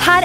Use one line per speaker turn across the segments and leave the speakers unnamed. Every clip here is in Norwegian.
her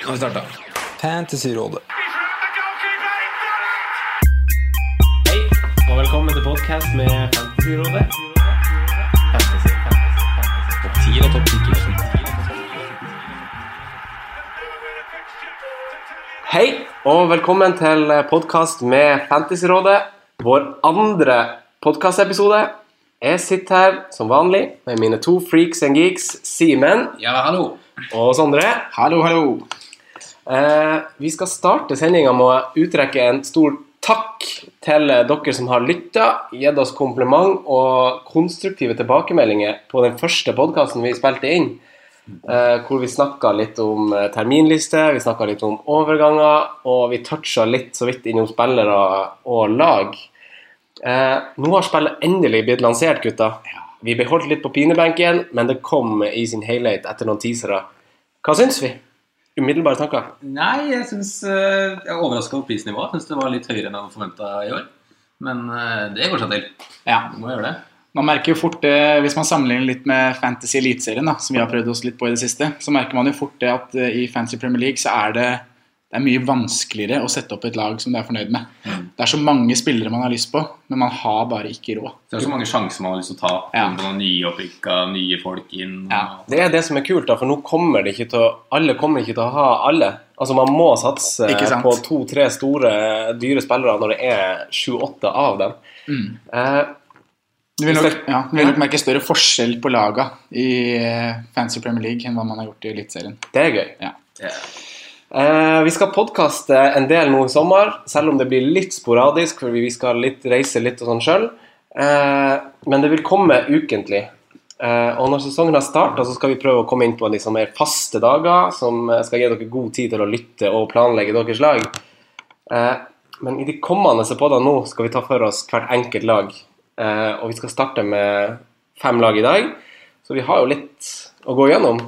Nå har vi starta. Fantasyrådet.
Hei, og velkommen til podcast med Fantasyrådet. Topp 10 og topp 10. Hei, og velkommen til podcast med Fantasyrådet, vår andre podcastepisode. Jeg sitter her som vanlig med mine to freaks and geeks, Simen
Ja, hallo.
og Sondre.
Hallo, hallo.
Eh, vi skal starte sendinga med å utrekke en stor takk til eh, dere som har lytta, gitt oss kompliment og konstruktive tilbakemeldinger på den første podkasten vi spilte inn, eh, hvor vi snakka litt om eh, terminliste, vi snakka litt om overganger, og vi toucha litt så vidt innom spillere og lag. Eh, nå har spillet endelig blitt lansert, gutta. Vi beholdt litt på pinebenken, men det kom i sin helhet etter noen teasere. Hva syns vi? Umiddelbare tanker?
Nei, jeg syns Jeg er overraska over prisnivået. Syns det var litt høyere enn jeg hadde forventa i år. Men eh, det går seg til.
Ja.
Du må gjøre det.
Man merker jo fort det, Hvis man sammenligner litt med Fantasy Eliteserien, da, som vi har prøvd oss litt på i det siste, så merker man jo fort det at eh, i Fantasy Premier League så er det, det er mye vanskeligere å sette opp et lag som du er fornøyd med.
Mm.
Det er så mange spillere man har lyst på, men man har bare ikke råd.
Det er så mange sjanser man har lyst til å ta.
Ja.
Komme på noen nyopprykka, nye folk inn. og-
Ja.
Det er det som er kult, da, for nå kommer det ikke til å Alle kommer ikke til å ha alle. Altså Man må satse
Ikke sant.
på to-tre store, dyre spillere når det er sju-åtte av dem.
Mm.
Eh,
Du vil nok, ja, du vil
Ja.
nok merke større forskjell på laga i eh, Fantasy Premier League enn hva man har gjort i Eliteserien.
det er gøy.
Ja.
Ja.
Eh, vi skal podkaste en del nå i sommer, selv om det blir litt sporadisk, for vi skal litt, reise litt og sånn sjøl. Eh, men det vil komme ukentlig. Eh, og når sesongen har starta, så skal vi prøve å komme inn på de som er faste dager, som eh, skal gi dere god tid til å lytte og planlegge deres lag. Eh, men i de kommende podene nå skal vi ta for oss hvert enkelt lag. Eh, og vi skal starte med fem lag i dag, så vi har jo litt å gå gjennom.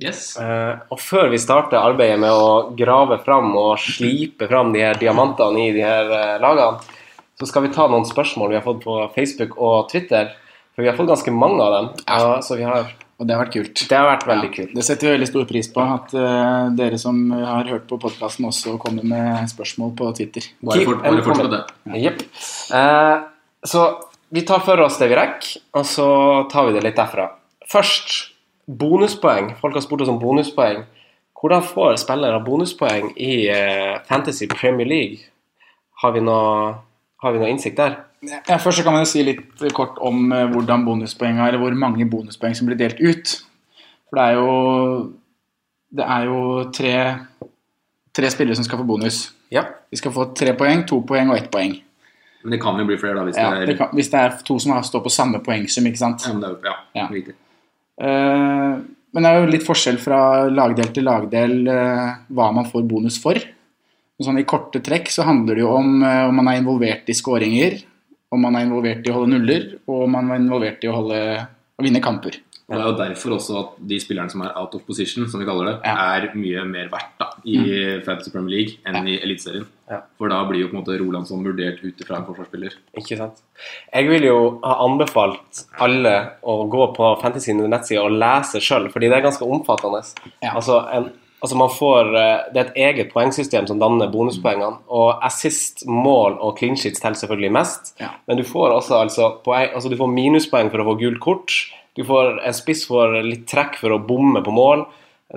Yes.
Eh, og før vi starter arbeidet med å grave fram og slipe fram de her diamantene i de her eh, lagene, så skal vi ta noen spørsmål vi har fått på Facebook og Twitter. For vi har fått ganske mange av dem. Ja, så vi har,
Og det har vært kult.
det har vært veldig kult.
Det setter vi veldig stor pris på, at eh, dere som har hørt på podkasten også kommer med spørsmål på Twitter.
Bare fort, bare
and
fort på
coming.
det.
Jepp. Eh, så vi tar for oss det vi rekker, og så tar vi det litt derfra. Først bonuspoeng. Folk har spurt oss om bonuspoeng. Hvordan får spillere bonuspoeng i eh, Fantasy Premier League? Har vi noe, har vi noe innsikt der?
Ja, først så kan man jo si litt kort om eh, hvordan bonuspoengene, eller hvor mange bonuspoeng som blir delt ut. For det er jo, det er jo tre, tre spillere som skal få bonus.
Ja.
De skal få tre poeng, to poeng og ett poeng.
Men det kan jo bli flere, da. Hvis
Ja,
det er,
det kan, hvis det er to som har- står på samme poengsum, ikke sant.
Ja, men det er jo- ja,
Ja.
riktig.
Eh, Men det er jo litt forskjell fra lagdel til lagdel eh, hva man får bonus for. Men Sånn I korte trekk så handler det jo om eh, om man er involvert i skåringer, om man er involvert i å holde nuller, og om man er involvert i å, holde, å vinne kamper.
Og Det er jo derfor også at de spillerne som er out of position, som vi kaller det,
Ja. Mm.
er mye mer verdt da, i Fantasy Premier League enn i Eliteserien.
Ja.
For da blir jo på en måte Rolandsson vurdert ut ifra en forsvarsspiller.
Ikke sant. Jeg vil jo ha anbefalt alle å gå på Fantasy sine nettsider og lese sjøl, fordi det er ganske omfattende.
Ja.
Altså, en, altså man får eh, Det er et eget poengsystem som danner bonuspoengene, og assist, mål og clean sheets teller selvfølgelig mest,
Ja.
men du får også altså poeng Altså du får minuspoeng for å få gult kort, du får en spiss for litt trekk for å bomme på mål,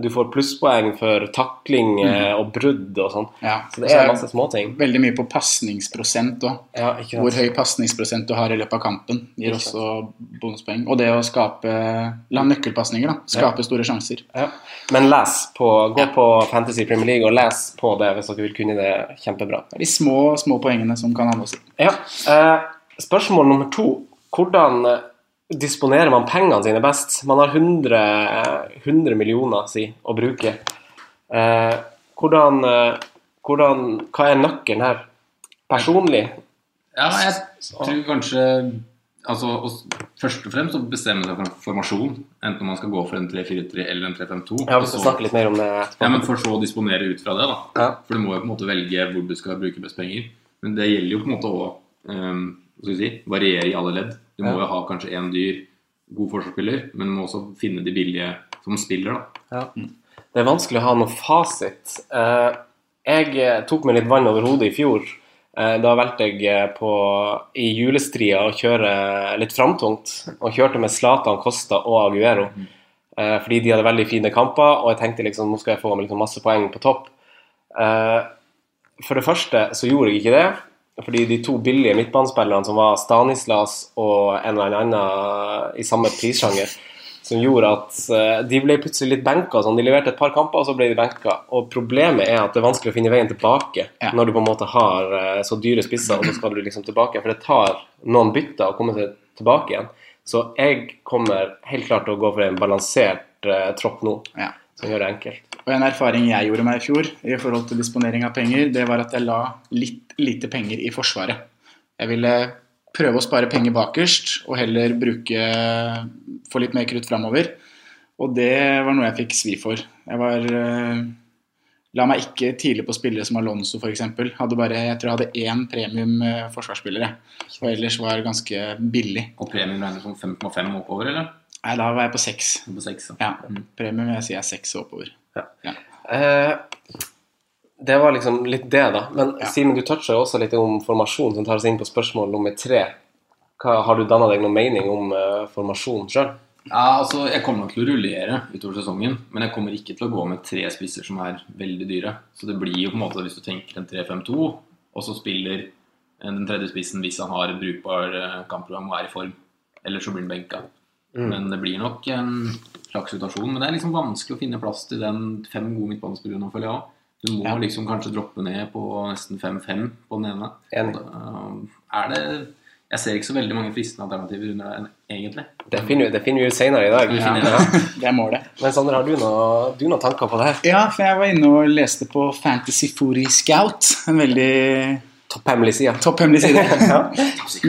Du får plusspoeng for takling eh, og brudd og sånn.
Mm. Ja.
Så det er masse småting.
Veldig mye på pasningsprosent òg.
Ja, ikke sant.
Hvor høy pasningsprosent du har i løpet av kampen, gir
Ikke sant.
også bonuspoeng. Og det å skape La nøkkelpasninger, da. Skape store sjanser.
Ja. Men les på, gå på Fantasy Premier League og les på det hvis dere vil kunne det kjempebra.
Det er de små, små poengene som kan ha noe å si.
Ja. Eh, spørsmål nummer to. Hvordan eh, disponerer man pengene sine best? Man har 100, eh, 100 millioner si, å bruke. Eh, hvordan, eh, hvordan Hva er nøkkelen her? Personlig?
Ja, jeg tror kanskje altså, å s- Først og fremst å bestemme seg for en formasjon. Enten man skal gå for en 3-4-3 eller en 3-5-2.
Ja,
og
Vi skal
så-
snakke litt mer om det etterpå.
Ja, men for så å disponere ut fra det, da.
Ja.
For du må jo på en måte velge hvor du skal bruke best penger. Men det gjelder jo på en måte å um, hva skal vi si, variere i alle ledd. Du må
Ja.
jo ha kanskje én dyr, god forsvarsspiller, men du må også finne de billige som spiller, da.
Ja. Mm. Det er vanskelig å ha noe fasit. Eh, Jeg eh, tok meg litt vann over hodet i fjor. Eh, Da valgte jeg eh, på, i julestria å kjøre eh, litt framtungt, og kjørte med Zlatan, Costa og Aguero. Eh, Fordi de hadde veldig fine kamper, og jeg tenkte liksom, nå skal jeg få meg liksom masse poeng på topp. Eh, For det første så gjorde jeg ikke det, fordi de to billige midtbanespillerne som var Stanislas og en eller annen i samme prissjanger, som gjorde at eh, de ble plutselig litt benka. Sånn. De leverte et par kamper, og så ble de benka. Og problemet er at det er vanskelig å finne veien tilbake
Ja.
når du på en måte har eh, så dyre spisser, og så skal du liksom tilbake. For det tar noen bytter å komme seg tilbake igjen. Så jeg kommer helt klart til å gå for en balansert eh, tropp nå,
Ja.
som gjør det enkelt.
Og en erfaring jeg gjorde meg i fjor i forhold til disponering av penger, det var at jeg la litt lite penger i Forsvaret. Jeg ville prøve å spare penger bakerst, og heller bruke få litt mer krutt framover. Og det var noe jeg fikk svi for. Jeg var eh, La meg ikke tidlig på spillere som Alonso f.eks. Hadde bare, jeg tror jeg hadde én premium eh, forsvarsspiller, jeg. Og ellers var ganske billig.
Og premien regner som 5,5 oppover, eller?
Nei, da var jeg på seks.
På 6,
Ja, premium vil jeg si er seks og oppover.
Eh, det var liksom litt det, da. Men Simen, du toucha jo også litt om formasjon, som tar oss inn på spørsmål nummer tre. Hva, har du danna deg noen mening om eh, formasjon sjøl?
Ja, altså, Jeg kommer nok til å rullere utover sesongen, men jeg kommer ikke til å gå med tre spisser som er veldig dyre. Så det blir jo på en måte, hvis du tenker en 3-5-2, og så spiller en- den tredje spissen hvis han har et brukbar eh, kampprogram og er i form. Eller så blir han benka. Men det blir nok en slags situasjon. Men det er liksom vanskelig å finne plass til den fem gode midtbanespillerne, føler jeg òg. Du må liksom kanskje droppe ned på nesten 5-5 på den ene.
Enig.
Og da Er det Jeg ser ikke så veldig mange fristende alternativer under den, egentlig.
Det finner, vi- det finner vi ut senere i dag.
Det er målet.
Men Sander, har du, noe, du noen tanker på det her?
Ja, for jeg var inne og leste på Fantasy Footy Scout. En veldig
Topphemmelig side.
topphemmelig side.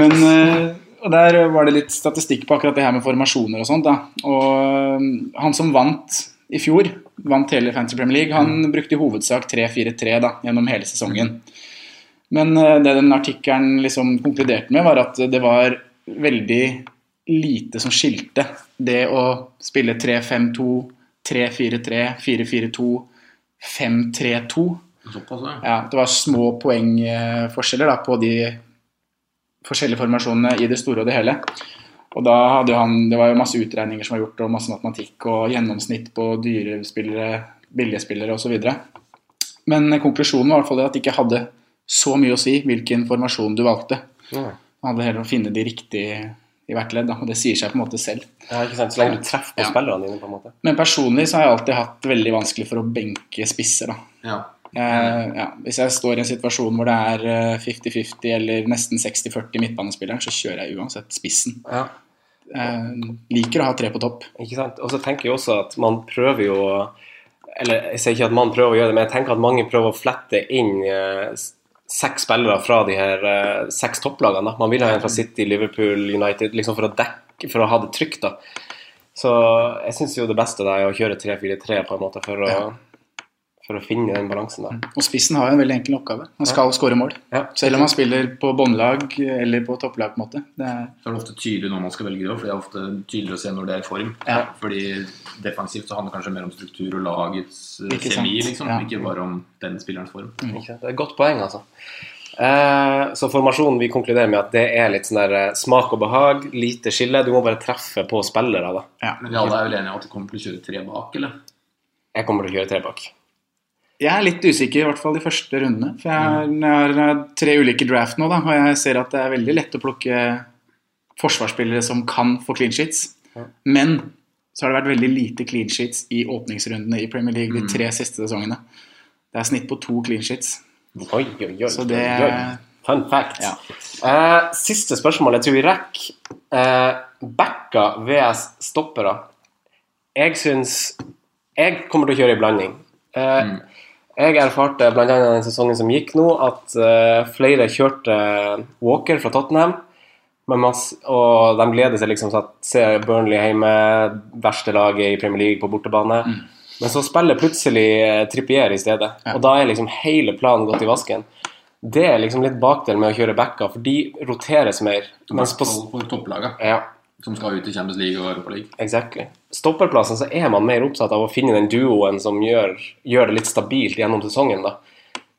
Men eh, og der var det litt statistikk på akkurat det her med formasjoner og sånt. da. Og eh, han som vant i fjor, vant hele Fantasy Premier League,
Mm.
han brukte i hovedsak 3-4-3 da, gjennom hele sesongen. Men eh, det den artikkelen liksom konkluderte med, var at det var veldig lite som skilte det å spille 3-5-2, 3-4-3, 4-4-2, 5-3-2.
Såpass, ja.
Ja, det var små poengforskjeller da, på de forskjellige formasjonene i det store og det hele. Og da hadde han, Det var jo masse utregninger som var gjort, og masse matematikk og gjennomsnitt på dyre spillere, billige spillere osv. Men konklusjonen var i hvert fall det at det ikke hadde så mye å si hvilken formasjon du valgte.
Ja.
Det handler heller om å finne de riktige i hvert ledd, da, og det sier seg på en måte selv.
Ja, ikke sant? Så lenge du treffer på
Ja.
spillerne dine, på en måte.
Men personlig så har jeg alltid hatt veldig vanskelig for å benke spisser. da.
Ja.
Eh, ja. Hvis jeg står i en situasjon hvor det er eh, 50-50 eller nesten 60-40 midtbanespilleren, så kjører jeg uansett spissen.
Ja.
Eh, liker å ha tre på topp.
Ikke sant? Og så tenker jeg også at man prøver jo å Eller jeg sier ikke at man prøver å gjøre det, men jeg tenker at mange prøver å flette inn eh, s- seks spillere fra de her eh, seks topplagene. da. Man vil ha en fra City, Liverpool, United, liksom for å dekke, for å ha det trygt, da. Så jeg syns jo det beste da er å kjøre 3-4-3 på en måte for å, for å finne den balansen der.
Og spissen har jo en veldig enkel oppgave. Han skal skåre mål.
Ja.
Selv om han spiller på båndlag eller på topplag, på en måte. Det er,
Så er det ofte tydelig når man skal velge det også, for det er ofte tydeligere å se når det er i form.
Ja.
Fordi defensivt så handler det kanskje mer om struktur og lagets eh,
Ikke sant.
kjemi, liksom.
Ja.
Ikke Mm. bare om den spillerens form.
Ikke sant? Det er et godt poeng, altså. Eh, så formasjonen vi konkluderer med at det er litt sånn der eh, smak og behag, lite skille. Du må bare treffe på spillere, da.
ja.
Men vi alle er vel enige om at de kommer til å kjøre tre bak, eller?
Jeg kommer til å kjøre tre bak.
Jeg er litt usikker, i hvert fall de første rundene. For jeg,
Mm.
har- jeg har tre ulike draft nå, da, og jeg ser at det er veldig lett å plukke forsvarsspillere som kan få clean sheets. Men så har det vært veldig lite clean sheets i åpningsrundene i Premier League
Mm.
de tre siste sesongene. Det er snitt på to clean sheets.
Oi, oi, oi.
Så det-
oi, oi. Fun fact.
Ja.
Eh, siste spørsmål jeg tror vi rekker. Eh, Backa vs. stoppere. Jeg syns Jeg kommer til å kjøre i blanding. Eh, Jeg erfarte bl.a. den sesongen som gikk nå, at eh, flere kjørte Walker fra Tottenham. Men man, s- og de gleder seg liksom til at se Burnley hjemme, verste laget i Premier League på bortebane. Men så spiller plutselig eh, Trippier i stedet, og da er liksom hele planen gått i vasken. Det er liksom litt bakdel med å kjøre backa, for de roteres mer. Mens på, s-
For topplaga,
ja,
som skal ut i Champions League og Europa League.
Exactly. Stopperplassen så er man mer opptatt av å finne den duoen som gjør, gjør det litt stabilt gjennom sesongen. da.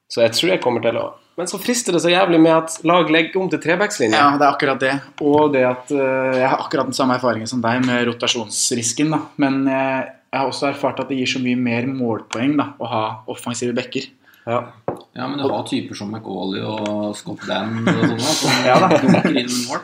Så jeg tror jeg kommer til å Men så frister det så jævlig med at lag legger om til trebackslinje.
Ja, det er akkurat det. Og det at eh, jeg har akkurat den samme erfaringen som deg med rotasjonsrisken. Da. Men eh, jeg har også erfart at det gir så mye mer målpoeng da, å ha offensive backer.
Ja.
Ja, men du har typer som McAuley og Scott Dan og sånne, altså. som
Ja da.
dunker inn mål.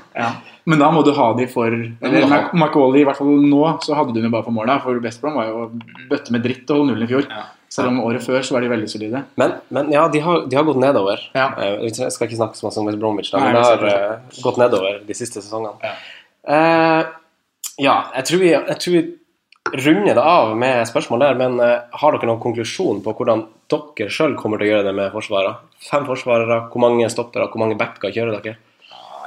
Men da må du ha de for eller,
du ha-
Mac- Macaulay, i hvert fall nå, så hadde du dem bare for mål. Da, for Best Brom var jo å bøtte med dritt og holde nullen i fjor.
Ja.
Selv om året før så var de veldig solide.
Men, men ja, de har, de har gått nedover.
Ja.
Eh, Jeg skal ikke snakke så mye om West Bromwich, da,
Nei,
men de har
det er
eh, gått nedover de siste sesongene.
Ja.
Eh, ja jeg, tror vi, jeg tror vi runder det av med spørsmål der, men eh, har dere noen konklusjon på hvordan dere sjøl kommer til å gjøre det med forsvaret? Fem forsvarere, hvor mange stoppere, hvor mange backer kjører dere?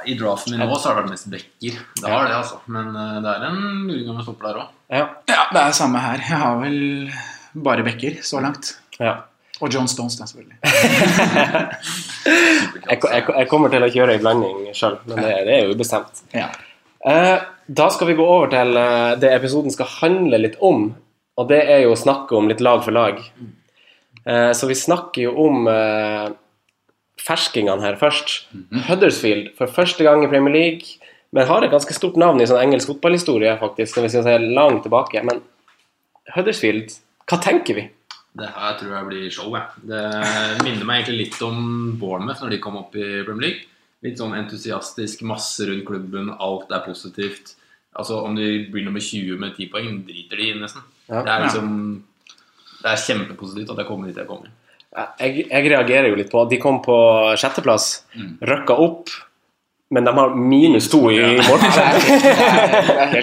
I draften min nå så har det vært mest bekker. Det har det, altså. Men eh, det er en luring om jeg stopper der òg.
Ja.
Ja, det er samme her. Jeg har vel bare backer så langt.
ja.
Og John Stones, da, selvfølgelig.
Jeg, ko- jeg, ko- jeg kommer til å kjøre i blanding sjøl, men det, det er jo ubestemt.
Ja.
Eh, Da skal vi gå over til eh, det episoden skal handle litt om, og det er jo å snakke om litt lag for lag. Eh, Så vi snakker jo om eh, ferskingene her først. Huddersfield for første gang i Premier League, men har et ganske stort navn i sånn engelsk fotballhistorie, faktisk, når vi skal se langt tilbake. Men Huddersfield, hva tenker vi?
Det her tror jeg blir show, jeg. Det minner meg egentlig litt om Bournemouth når de kom opp i Premier League. Litt sånn entusiastisk, masse rundt klubben, alt er positivt. Altså, om de blir nummer 20 med 10 poeng, driter de i nesten.
Ja.
Det er liksom Det er kjempepositivt at jeg kommer dit jeg kommer.
Jeg, jeg reagerer jo litt på at de kom på sjetteplass, røkka opp, men de har minus to i målforskjell.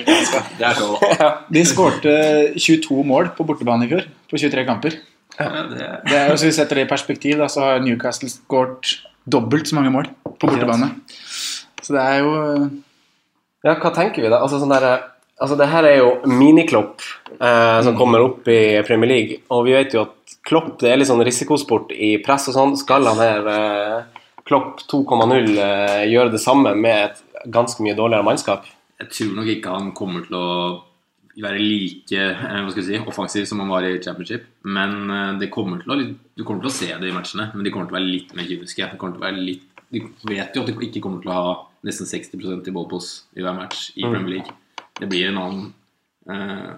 Det er show.
De skårte 22 mål på bortebane i fjor, på 23 kamper.
Ja, det
Det er, hvis vi setter det i perspektiv, da, så har Newcastle skåret dobbelt så mange mål på bortebane. Så det er jo
Ja, hva tenker vi da? Altså, sånn der, altså det her er jo miniklopp eh, som kommer opp i Premier League, og vi vet jo at klopp det er litt sånn risikosport i press og sånn. Skal han her eh, klopp 2,0 eh, gjøre det samme med et ganske mye dårligere mannskap?
Jeg tror nok ikke han kommer til å være like eh, hva skal jeg si, offensiv som han var i championship. Men eh, det kommer til å, du kommer til å se det i matchene, men de kommer til å være litt mer kyniske. De, kommer til å være litt, de vet jo at de ikke kommer til å ha nesten 60 i ballpos i hver match
Mm.
i Premier League. Det blir en annen eh,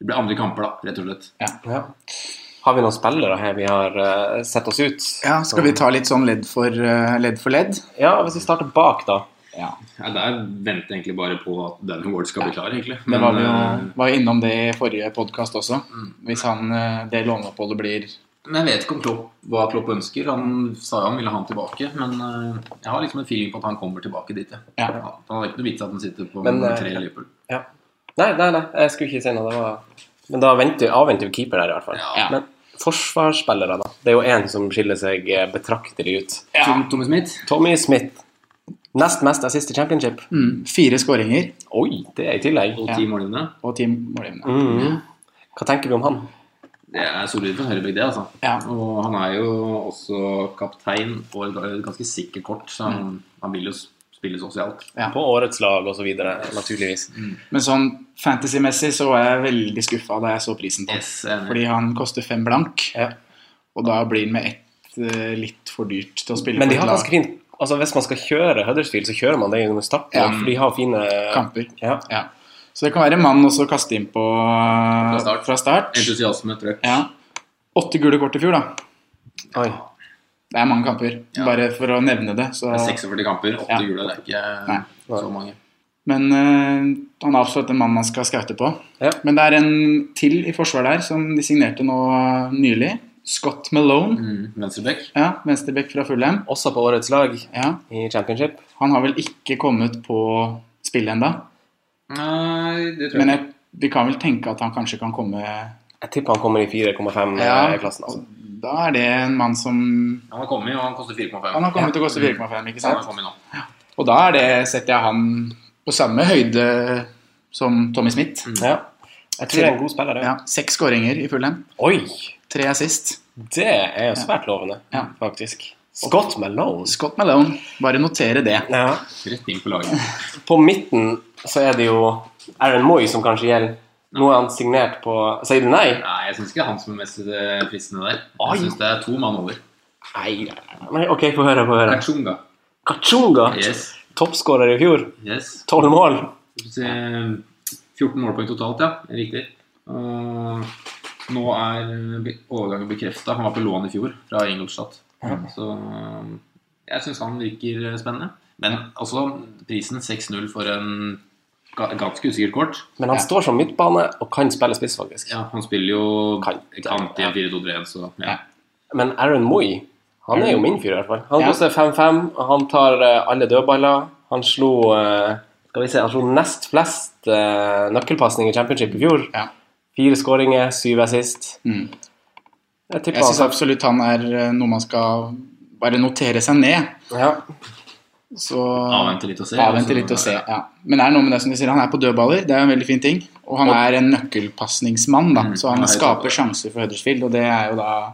Det blir andre kamper, da, rett og slett.
Har vi noen spillere her vi har eh, sett oss ut?
Ja, skal vi ta litt sånn ledd for eh, ledd? For ledd?
Ja, hvis vi starter bak, da.
Ja, der venter jeg egentlig bare på at Danny Ward skal bli klar, egentlig.
Det
Men,
var vi jo
eh, Mm.
var jo innom det i forrige podkast også. Hvis han, eh, det låneoppholdet blir
Men jeg vet ikke om Klopp, hva Klopp ønsker. Han sa jo han ville ha han tilbake, men eh, jeg har liksom en feeling på at han kommer tilbake dit. jeg.
Ja.
Han han har ikke noe vits at han sitter på
Men,
nummer
eh,
tre i Liverpool.
Ja. Nei, nei, nei, jeg skulle ikke si noe. Det var... Men da venter, avventer vi keeper der, i hvert fall.
Ja.
Men forsvarsspillere, da. Det er jo én som skiller seg eh, betraktelig ut.
Tom, Tommy Smith?
Tommy Smith. Nest mest assist i championship.
mm, fire skåringer
Oi, det er i tillegg.
Og ti målgivende?
og ti målgivende.
Mm.
Mhm. Hva tenker vi om han?
Det er solid for høyrebekk, det, altså.
Ja.
Og han er jo også kaptein og et ga- et ganske sikkert kort, så han,
Mm.
han vil jo s- spille sosialt.
Ja.
På årets lag osv., naturligvis.
Men sånn fantasy-messig så var jeg veldig skuffa da jeg så prisen på ham.
Yes, jeg er enig.
Fordi han koster fem blank,
Ja.
og da blir han med ett eh, litt for dyrt til å spille
Men
på
de
et
har
lag.
ganske fint Altså Hvis man skal kjøre Huddersfield, så kjører man det gjennom starten.
Ja.
For de har fine
kamper.
Ja.
Ja. Så det kan være mann også å kaste inn på fra
start.
Fra start.
Entusiasme, trøkk.
Ja. Åtte gule kort i fjor, da.
Oi.
Det er mange kamper,
Ja.
bare for å nevne det. Så.
Det er 46 kamper, 8
Ja.
gule. Det er ikke
Nei.
så mange.
Men eh, han er absolutt en mann man skal skaute på.
Ja.
Men det er en til i forsvaret der som de signerte nå eh, nylig. Scott Malone.
Mm. Venstrebekk.
Ja, Venstrebekk fra Fulham.
Også på årets lag
Ja,
i championship.
han har vel ikke kommet på spillet enda
Nei, det tror
Men
jeg
jeg, vi kan vel tenke at han kanskje kan komme eh,
Jeg tipper han kommer i 4,5-klassen. altså.
Da er det en mann som
ikke. Han har kommet, og han koster 4,5.
Han har kommet til å koste
Mm.
4,5, ikke
Han har
sant?
kommet nå.
Og da er det, setter jeg han på samme høyde som Tommy Smith.
Ja. Jeg tror det er en god spiller, det.
Ja, Seks skåringer i Fulham.
Oi!
Tre assist.
Det er jo svært lovende,
Ja.
faktisk. Scott Malone.
Scott Malone, bare notere det.
Ja.
Rett inn på laget.
På midten så er det jo Aaron Moy som kanskje gjelder. Nå er han signert på Sier du nei?
Nei, jeg syns ikke det er han som er mest eh, fristende der. Jeg syns det er to mann over.
Nei, nei, nei. Ok, få høre, få høre.
Kachunga.
Kachunga!
Yes.
Toppskårer i fjor.
yes.
Tolv mål.
Skal vi se, 14 målpoeng totalt, ja. Riktig. Og nå er eh, be- overgangen bekrefta. Han var på lån i fjor fra Ingolstadt. Så eh, jeg syns han virker eh, spennende. Men altså, prisen 6-0 for en ga- ganske usikkert kort.
Men han står som midtbane og kan spille spiss, faktisk.
Ja, han spiller jo
Kant, ja.
kant i en 4-2-3-1, så ja.
Men Aaron Moy, han er jo min fyr i hvert fall. Han
Mm. Ja.
koster 5-5, og han tar eh, alle dødballer. Han slo eh, skal vi se, han slo nest flest uh, nøkkelpasning i championship i fjor.
Ja.
Fire skåringer, syv assist.
Mm.
Jeg
Jeg
tipper altså-
syns
han
absolutt han er eh, noe man skal bare notere seg ned.
ja.
Så
Avvente litt og se.
avvente litt og se. Ja. Men det er noe med det som du sier, han er på dødballer, det er jo en veldig fin ting. Og han er en nøkkelpasningsmann, da, så
Mm. han
han
er helt
skaper
oppe.
sjanser for Huddersfield, og det er jo da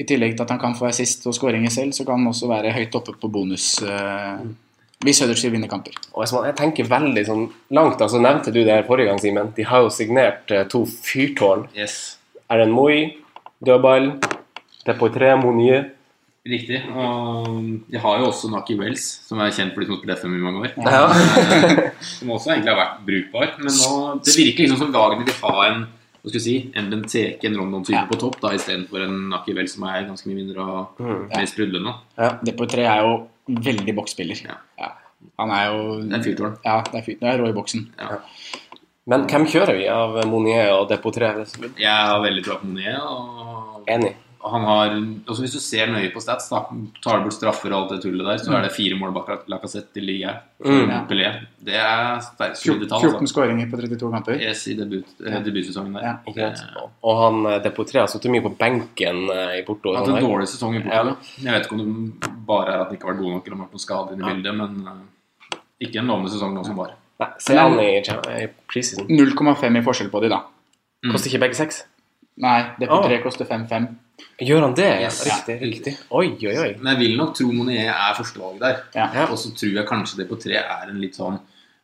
I tillegg til at han kan få assist og skåringer selv, så kan han også være høyt oppe på bonus eh,
Mm.
hvis Huddersfield vinner kamper.
Og hvis man, jeg tenker veldig sånn langt, altså nevnte du det her forrige gang, Simen. De har jo signert eh, to fyrtårn.
Yes.
Aaron Moy, dødball. Depoitre, Monier.
Riktig. Og de har jo også Naki Wells, som er kjent for de som har spilt FM i mange år.
Ja.
som også egentlig har vært brukbar. Men nå, det virker liksom som Wagner vil ha en hva skal jeg si, en Benteke, en Rondon-type
Ja.
på topp, da, istedenfor en Akivel som er ganske mye mindre og mer sprudlende.
Det på tre er jo veldig boksspiller.
Ja.
Ja. Han er jo
Det er en fyrtårn.
Ja, det er, fyrt, det er rå i boksen.
Men hvem kjører vi av Monier og Depoitre?
Jeg har veldig troa på Monier. Og
Enig.
og han har, også hvis du ser nøye på stats, da, tar du bort straffer og alt det tullet der, så er det fire mål bak Lacassette i liga.
Mm.
Pelé. Det er sterke solide
14,
tall. altså.
skåringer på 32 kamper.
Yes, i debut, eh, debutsesongen der.
Ja,
Ikke sant? Og han eh, Depotre har sittet mye på benken eh, i Porto.
Han har hatt en dårlig sesong i Portugal.
Ja.
Jeg vet ikke om det bare er at han ikke har vært god nok eller om det har vært noen skader i bildet, men eh, ikke en lovende sesong nå som bare.
Nei, se han i,
Mm.
i preseason.
0,5 i forskjell på de, da.
Mm.
Koster ikke begge seks?
Nei, det på
Ah.
tre koster 5-5.
Gjør han det? Ja,
Yes.
riktig. riktig. Oi, oi, oi.
Men jeg vil nok tro Monier er førstevalget der.
Ja.
Og så tror jeg kanskje det på tre er en litt sånn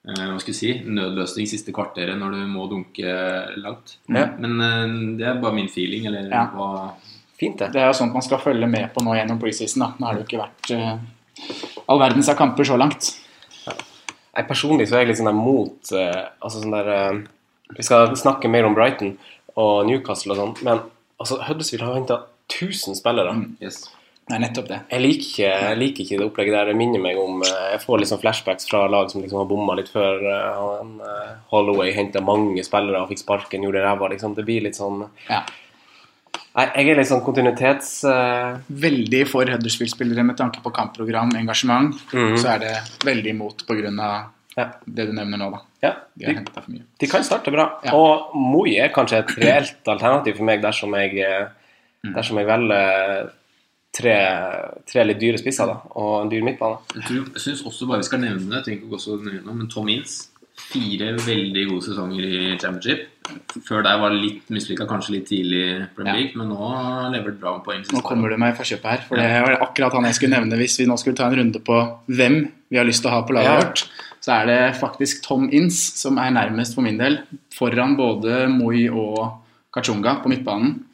eh, hva skal jeg si, nødløsning siste kvarteret når du må dunke langt.
Ja.
Men eh, det er bare min feeling, eller
Ja.
hva
Fint, det.
Det er jo sånt man skal følge med på nå gjennom preseason. da. Nå har det jo ikke vært eh, all verdens av kamper så langt.
Jeg personlig så er jeg litt sånn der mot eh, Altså sånn der eh, Vi skal snakke mer om Brighton og Newcastle og sånn, men altså, Huddersfield har henta 1000 spillere.
yes.
Det er nettopp det.
Jeg liker, ikke, jeg liker ikke det opplegget der. Det minner meg om eh, Jeg får liksom flashbacks fra lag som liksom har bomma litt før. eh, han, eh, Holloway henta mange spillere og fikk sparken, gjorde ræva. Liksom. Det blir litt sånn
Ja.
Nei, jeg er litt sånn kontinuitets... eh,
Veldig for Huddersfield-spillere med tanke på kampprogram, engasjement. Så er det veldig imot pga.
Ja.
det du nevner nå, da.
ja,
De har
de,
hentet for mye.
de kan starte bra.
Ja.
Og Moi er kanskje et reelt alternativ for meg dersom jeg, eh,
Mm.
dersom jeg velger tre, tre litt dyre spisser da, og en dyr midtbane.
Jeg, tror, jeg syns også bare vi skal nevne det, jeg trenger ikke gå så nøye nå, men Tom Inns. Fire veldig gode sesonger i Championship. Før der var det litt mislykka, kanskje litt tidlig i Premier League, men nå lever det bra med poeng. siste
Nå kommer du meg fra kjøpet her, for det var akkurat han jeg skulle nevne hvis vi nå skulle ta en runde på hvem vi har lyst til å ha på laget
Ja.
vårt. Så er det faktisk Tom Inns som er nærmest for min del, foran både Moi og Kachunga på midtbanen.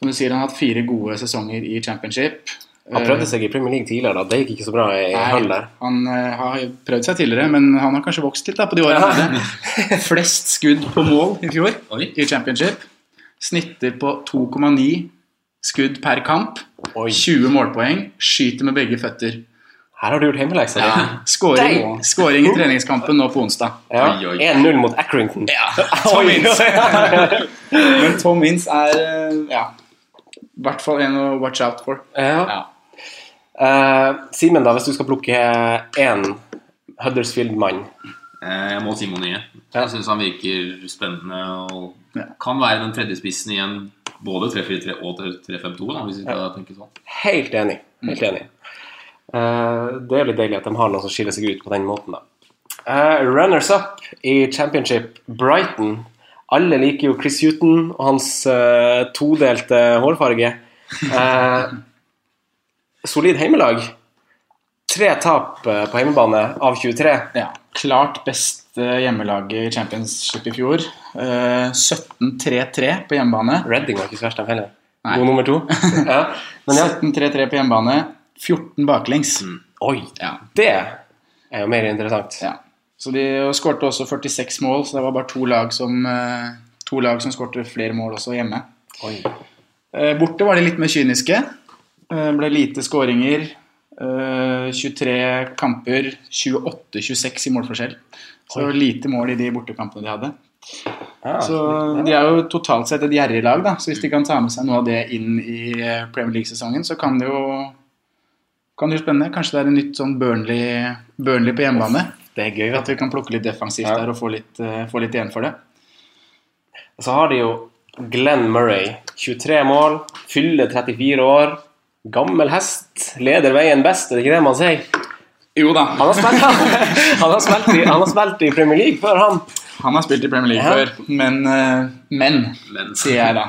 Som du sier, han har hatt fire gode sesonger i championship.
Han prøvde seg i Premier League tidligere, da. Det gikk ikke så bra i
Eh. Nei,
Hull der.
Han eh, har prøvd seg tidligere, men han har kanskje vokst litt da, på de årene. han hadde Flest skudd på mål i fjor
Oi.
i championship. Snitter på 2,9 skudd per kamp.
Oi.
20 målpoeng. Skyter med begge føtter.
Her har du gjort hjemmeleksa di.
Skåring,
Dang.
skåring i treningskampen nå på onsdag.
Ja.
Oi, oi.
1-0 mot Accrington.
Tom
Oi.
Ince. Men Tom Ince er eh, ja, i hvert fall en å watch out for.
Ja.
Ja.
Eh, Simen, da, hvis du skal plukke én Huddersfield-mann
Eh, Jeg må si Monie. Jeg syns han virker spennende og
Ja.
kan være den tredje spissen igjen. Både 3-4-3 og 3-5-2, da, hvis vi skal tenke sånn.
Helt enig.
Mm.
Helt enig. Eh, det er jo litt deilig at de har noen som skiller seg ut på den måten, da. Eh, runners up i championship, Brighton. Alle liker jo Chris Hughton og hans eh, todelte hårfarge. Eh, solid heimelag. Tre tap eh, på hjemmebane av 23.
Ja, klart beste hjemmelaget i championship i fjor. Eh, 17-3-3 på hjemmebane.
Redding var ikke så verst, de heller.
Nei.
God nummer to. Ja. Men ja, Mm.
17-3-3 på hjemmebane. 14 baklengs.
oi,
Ja.
det er jo mer interessant.
Ja. Så de og skårte også 46 mål, så det var bare to lag som eh, To lag som skårte flere mål også hjemme.
Oi.
Eh, Borte var de litt mer kyniske. Eh, Ble lite skåringer. Eh, 23 kamper, 28-26 i målforskjell. Så lite mål i de bortekampene de hadde.
Ja.
Så De er jo totalt sett et gjerrig lag, da. så hvis de kan ta med seg noe av det inn i eh, Premier League-sesongen, så kan det jo kan det jo spennende. Kanskje det er en nytt sånn Burnley, Burnley på hjemmebane.
det er gøy, vet du.
At vi kan plukke litt defensivt
Ja.
der og få litt, eh, få litt igjen for det.
Så har de jo Glenn Murray. 23 mål, fyller 34 år. Gammel hest, leder veien best, er det ikke det man sier?
Jo da,
Han har spilt, han har spilt, i, han har spilt i Premier League før, han.
han har spilt i Premier League
Ja.
før, men, eh, men
Men
sier jeg da.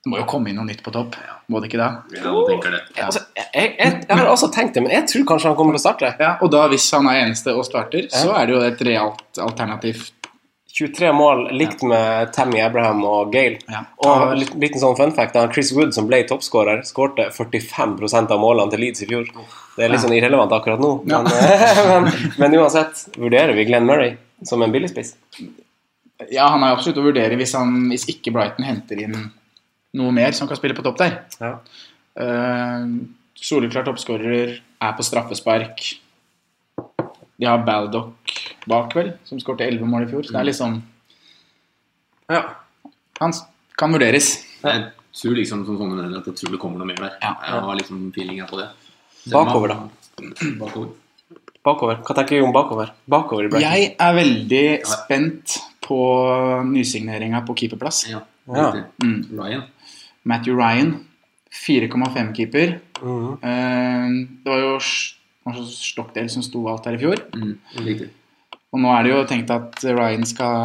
Det må jo komme inn noe nytt på topp, må det ikke da?
ja, man tenker det.
Altså, jeg, jeg, jeg har også tenkt det, men jeg tror kanskje han kommer til å starte.
Ja, og da hvis han er eneste og starter, så er det jo et realt alternativ.
23 mål likt med Tammy Abraham og Gale.
Ja.
Og litt, liten sånn fun fact, da Chris Wood, som ble toppskårer, skårte 45 av målene til Leeds i fjor. Det er litt sånn irrelevant akkurat nå,
Ja.
men, eh, men, men uansett vurderer vi Glenn Murray som en billigspiss.
Ja, han er absolutt å vurdere hvis, han, hvis ikke Brighton henter inn noe mer som kan spille på topp der.
Ja.
Eh, soleklart oppskårer, er på straffespark. De har Baldock bak, vel, som skårte 11 mål i fjor. Så det er liksom
Ja.
Han s- kan vurderes.
Jeg tror liksom som sånn at jeg tror det kommer noe mer der.
Ja.
Jeg har liksom feelingen på det.
Bakover, da.
Bakover.
Bakover. Hva tenker vi om bakover? Bakover i Brighton.
Jeg er veldig spent på nysigneringa på keeperplass.
Ja.
Ja.
riktig. Ryan.
Matthew Ryan, 4,5 keeper.
Mhm.
Eh, det var jo S- var det Stockdale som sto alt her i fjor.
Mm, riktig.
Og nå er det jo tenkt at Ryan skal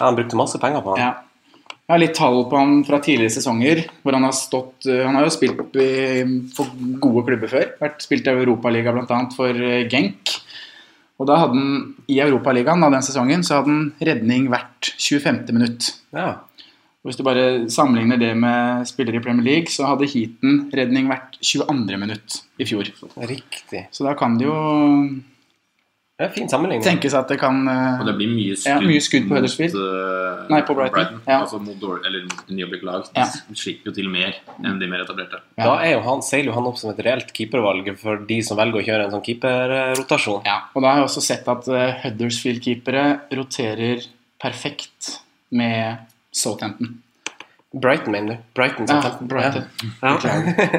Ja, han brukte masse penger på han.
Ja. Jeg har litt tall på han fra tidligere sesonger. hvor Han har stått, eh, han har jo spilt i, for gode klubber før. Vært spilt i Europaliga bl.a. for eh, Genk. Og da hadde han, I Europaligaen da, den sesongen så hadde han redning hvert 25. minutt.
Ja.
Og Hvis du bare sammenligner det med spillere i Premier League, så hadde Heaton redning hvert 22. minutt i fjor.
Riktig.
Så da kan det jo
Det er fin sammenligning.
tenkes at det kan eh,
Og det blir mye skudd,
Ja, mye skudd på
mot,
Huddersfield.
eh,
Nei, på Brighton. Ja.
Altså mot dårlig, eller mot nyoppbygd lag.
Ja.
De slipper jo til mer enn de mer etablerte.
Da er jo han, seiler jo han opp som et reelt keepervalg for de som velger å kjøre en sånn keeperrotasjon.
Ja, og da har jeg også sett at eh, Huddersfield-keepere roterer perfekt med Southampton.
Brighton, mener du? Brighton,
Ja,
Southampton.
Brighton.
Ja.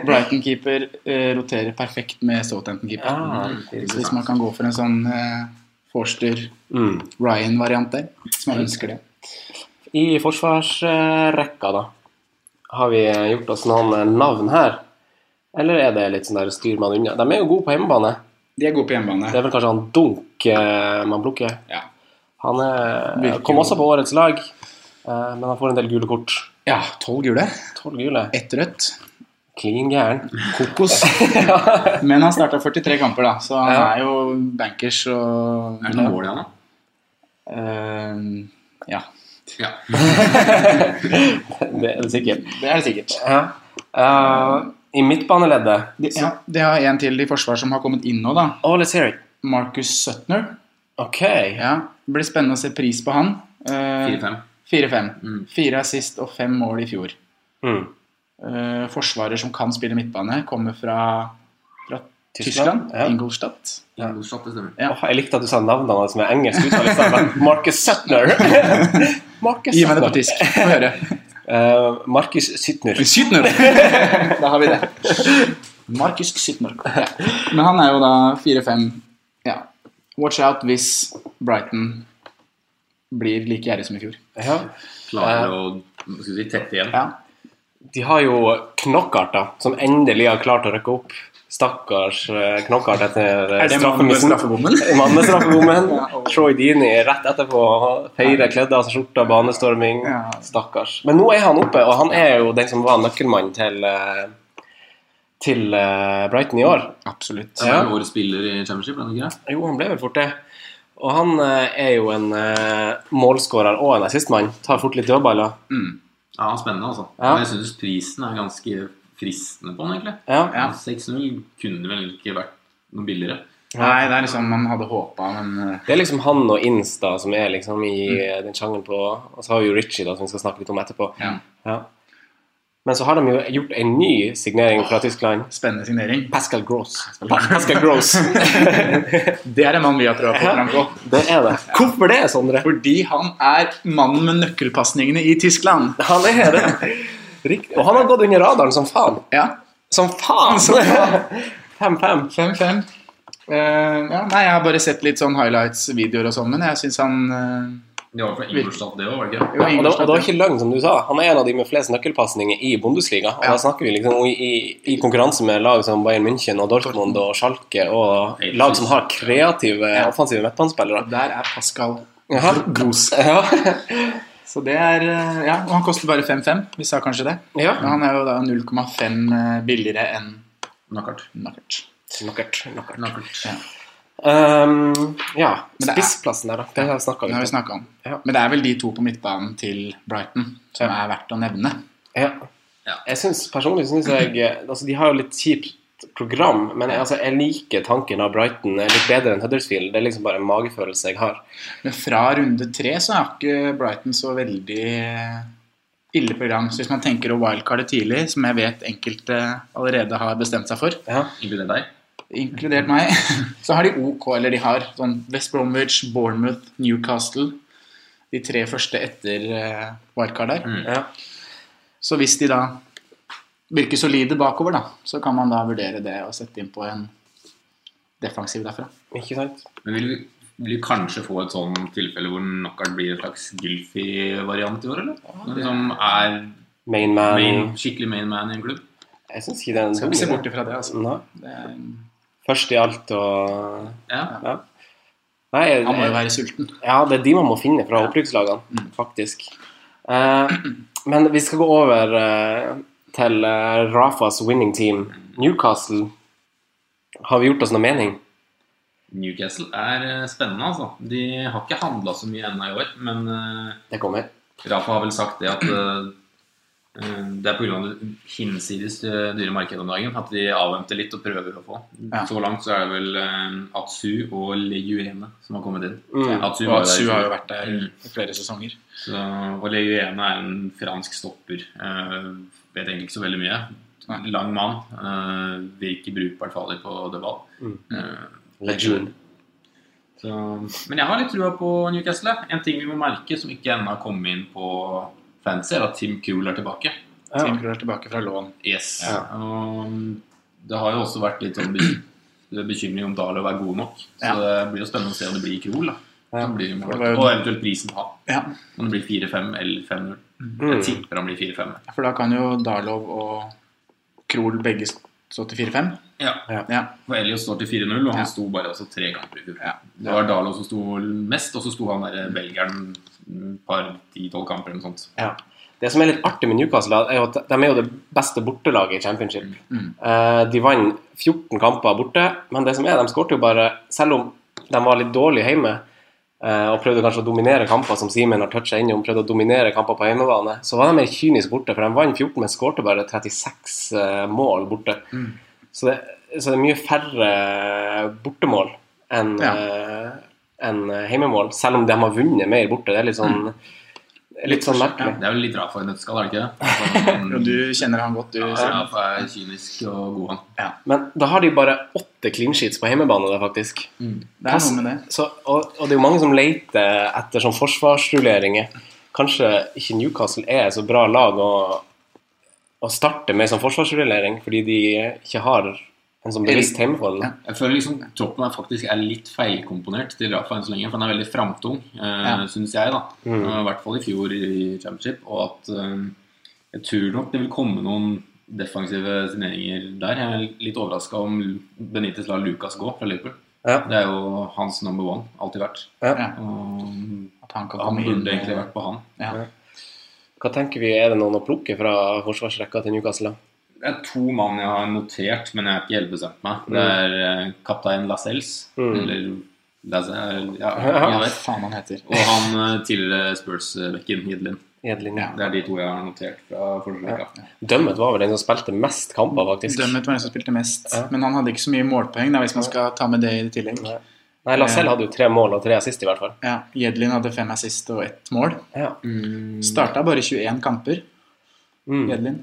Brighton-keeper eh, roterer perfekt med Southampton-keeper.
Ah,
Så hvis man kan gå for en sånn eh,
mm.
Forster-Ryan-variant der, hvis man ønsker det.
I forsvarsrekka, da, har vi gjort oss noen eh, navn her? Eller er det litt sånn der styr man unna? De er jo gode på hjemmebane.
De er gode på
Det
hjemmebane.
er vel kanskje han Dunk eh, man plukker.
Ja.
Han er,
Virker
kom
jo-
også på årets lag, eh, men han får en del gule kort.
Ja, tolv gule,
Tolv gule.
ett rødt.
Klin gæren.
Kokos. Men han starta 43 kamper, da, så han er jo bankers og
Er det noen mål igjen, da?
Eh, Ja.
Ja.
Det er det sikkert.
Det er det sikkert.
Ja. Eh, I midtbaneleddet.
De, ja, de har en til i forsvar som har kommet inn nå, da.
Oh, let's hear it.
Marcus Sutner.
Ok.
Ja, det blir spennende å se pris på han. Eh,
4-5.
4-5.
Mm.
Fire assist og fem mål i fjor.
Mm.
Eh, forsvarer som kan spille midtbane, kommer fra, fra Tyskland.
Tyskland, ja.
Ingolstadt.
Ja, Ingolstadt, det stemmer.
Ja.
Åh, jeg likte at du sa navnene hans med engelsk uttale. i stedet for Marcus Sutner. Marcus
Gi meg det på
Sutner.
tysk. Få høre.
Eh, Marcus Sutner.
Sytner! da har vi det. Markus Sytner. Ja. Men han er jo da 4-5. Ja. Watch out hvis Brighton blir like gjerrig som i fjor.
Ja.
Klarer å hva skal vi si, tette igjen.
Ja.
De har jo Knockart, da, som endelig har klart å rykke opp. Stakkars eh, Knockart etter eh,
Er det mannen med
straffemissen.
straffebommen?
Mannen med straffebommen.
Ja, og-
Troy Deeney rett etterpå. Feirer kledd av seg skjorta, altså banestorming.
Ja.
Stakkars. Men nå er han oppe, og han er jo den som var nøkkelmann til eh, til eh, Brighton i år.
Absolutt.
Han er
Ja.
jo årets spiller i Championship, er han ikke det?
Jo, han ble vel fort det. Og han eh, er jo en eh, målskårer og en assistmann. Tar fort litt dødballer.
Ja, han er spennende, altså.
Ja.
Men Jeg syns prisen er ganske fristende på han, egentlig.
Ja.
Ja.
6-0 kunne vel ikke vært noe billigere.
Nei, det er liksom man hadde håpa, men eh,
Det er liksom han og Insta som er liksom i eh, den sjangeren på Og så har vi jo Richie, da, som vi skal snakke litt om etterpå.
Ja.
Ja. Men så har de jo gjort en ny signering fra Tyskland.
spennende signering.
Pascal Gross. Pascal Gross.
Det er en mann vi har prøvd å få fram på.
det er det. Hvorfor det, Sondre?
Fordi han er mannen med nøkkelpasningene i Tyskland.
Han er det. Riktig. Og han har gått under radaren som faen.
Ja.
Som faen!
Som faen.
5-5.
5-5. Eh, ja, nei, jeg har bare sett litt sånn highlights-videoer og sånn, men jeg syns han eh,
Det var fra Ingolstadt, det òg, var det ikke?
Og det, og
jo,
det var
Ingolstadt-
ikke løgn, som du sa. Han er en av de med flest nøkkelpasninger i Bundesliga. Og da snakker vi liksom i, i, i konkurranse med lag som Bayern München og Dortmund og Schalke, og lag som har kreative, offensive midtbanespillere.
Der er Pascal
Jaha.
Gros.
Ja.
Så det er eh, Ja, og han koster bare 5-5. Vi sa kanskje det.
Ja.
Men han er jo da 0,5 eh, billigere enn
Knockout.
Nuckert.
Knockert, knockert.
Knockout.
Ehm, ja.
det er-
Spissplassen der, da. Det har vi snakka
Det har vi
litt om.
snakka om.
Ja.
Men det er vel de to på midtbanen til Brighton som er verdt å nevne.
Ja.
Ja.
Jeg synes, personlig syns jeg eh, altså, De har jo litt kjipt program, men jeg, altså, jeg liker tanken av Brighton eh, litt bedre enn Huddersfield. Det er liksom bare en magefølelse jeg har.
Men fra runde tre så har ikke Brighton så veldig eh, ille program. Så hvis man tenker å wildcarde tidlig, som jeg vet enkelte allerede har bestemt seg for,
Ja.
Inkludert deg.
inkludert meg, så har de OK, eller de har sånn West Bromwich, Bournemouth, Newcastle. De tre første etter eh, wildcard der.
Ja.
Så hvis de da virker solide bakover, da, så kan man da vurdere det og sette inn på en defensiv derfra.
Ikke sant?
Men vil vi, vil vi kanskje få et sånn tilfelle hvor knockout blir en slags Gylfi-variant i år, eller? Men som er
Main man
main, skikkelig main man i en klubb?
Jeg syns ikke det er en
Skal ikke se
dum
bort ifra det,
idé.
altså.
Nei.
Det er,
Først i alt og
Ja.
Ja. Nei, jeg,
han må jo være sulten.
ja, det er de man må finne fra opprykkslagene, faktisk. Eh, men vi skal gå over eh, til eh, Rafas winning team, Newcastle. Har vi gjort oss noe mening?
Newcastle er eh, spennende, altså. De har ikke handla så mye ennå i år, men eh,
Det kommer.
Rafa har vel sagt det at eh, eh, det er pga. det hinsides eh, dyre markedet om dagen at de avventer litt og prøver å få.
Ja.
Så langt så er det vel eh, Atsu og Leguene som har kommet inn.
Mm.
Atsu
Og
var der
at
i
Su
fjor.
har jo vært der
Mm.
i flere sesonger.
Så, og Leguene er en fransk stopper. Eh, vet egentlig ikke så veldig mye.
Nei.
Lang mann. Eh, virker brukbart farlig på dødball. Eh,
Lejeune.
så, men jeg har litt trua på Newcastle. jeg. En ting vi må merke som ikke ennå har kommet inn på fancy, er at Tim Krul er tilbake.
Ja.
Tim Krul er tilbake fra lån.
Yes.
Ja.
Og det har jo også vært litt sånn be- bekymring om Dalo er god nok. Så
Ja.
det blir jo spennende å se om det blir Krul. da. Som blir målet.
det var jo-
Og eventuelt prisen på han.
Ja,
Om det blir 4-5 eller 5-0.
Mm.
Jeg tipper han blir 4-5.
for da kan jo Darlov og Krol begge stå til 4-5.
Ja.
Ja.
For Elios står til 4-0, og han
Ja.
sto bare også tre kamper i fjor. Det var Dalo som sto mest, og så sto han der eh, belgieren et par 10-12 kamper eller noe sånt.
Ja. Det som er litt artig med Newcastle, er jo at de er jo det beste bortelaget i championship. Eh, De vant 14 kamper borte, men det som er, de skårte jo bare Selv om de var litt dårlige hjemme, eh, eh, og prøvde kanskje å dominere kamper som Simen har toucha innom, prøvde å dominere kamper på hjemmebane, så var de mer kynisk borte, for de vant 14, men skårte bare 36 eh, mål borte. Så, det, så det er mye færre eh, bortemål enn
Ja.
eh, enn heimemål, selv om de har vunnet mer borte. Det er litt sånn, litt sånn merkelig.
Det er jo litt rart for en nøtteskall, er det ikke det?
Jo, Du kjenner han godt, du.
Ja, for jeg er kynisk og god han.
Men da har de bare åtte clean sheets på hjemmebane, da, faktisk.
Det er noe med det.
Så, og, og det er jo mange som leter etter sånn forsvarsrulleringer. Kanskje ikke Newcastle er et så bra lag å, å starte med som forsvarsrullering, fordi de ikke har en sånn bevisst hjemmehold.
Jeg føler liksom troppen her faktisk er litt feilkomponert til Rafa enn så lenge. For han er veldig framtung, eh, syns jeg, da. Eh, I hvert fall i fjor i Championship. Og at eh, jeg tror nok det vil komme noen defensive signeringer der. Jeg er litt overraska om Benitez lar Lucas gå fra Liverpool.
Ja.
Det er jo hans number one, alltid vært.
Ja.
Og eh,
At han kan
han
komme inn.
burde egentlig vært på han.
Ja.
Hva tenker vi, er det noen å plukke fra forsvarsrekka til Newcastle? da?
Det er to mann jeg har notert, men jeg har ikke helt bestemt meg. Det er eh, kaptein Lascelles, eller Lascelles, ja, jeg
Hva
vet.
faen han heter.
Og han eh, tidligere Spurs-bekken, Hidlin.
Edlin.
Ja.
Det er de to jeg har notert fra forsvarsrekka.
Dømmet var vel den som spilte mest kamper, faktisk.
Dømmet var den som spilte mest, men han hadde ikke så mye målpoeng, da, hvis man skal ta med det i tillegg.
Nei, Lacelle hadde jo tre mål og tre assist, i hvert fall.
Ja, Jedlin hadde fem assist og ett mål.
Ja.
Starta bare 21 kamper, Jedlin.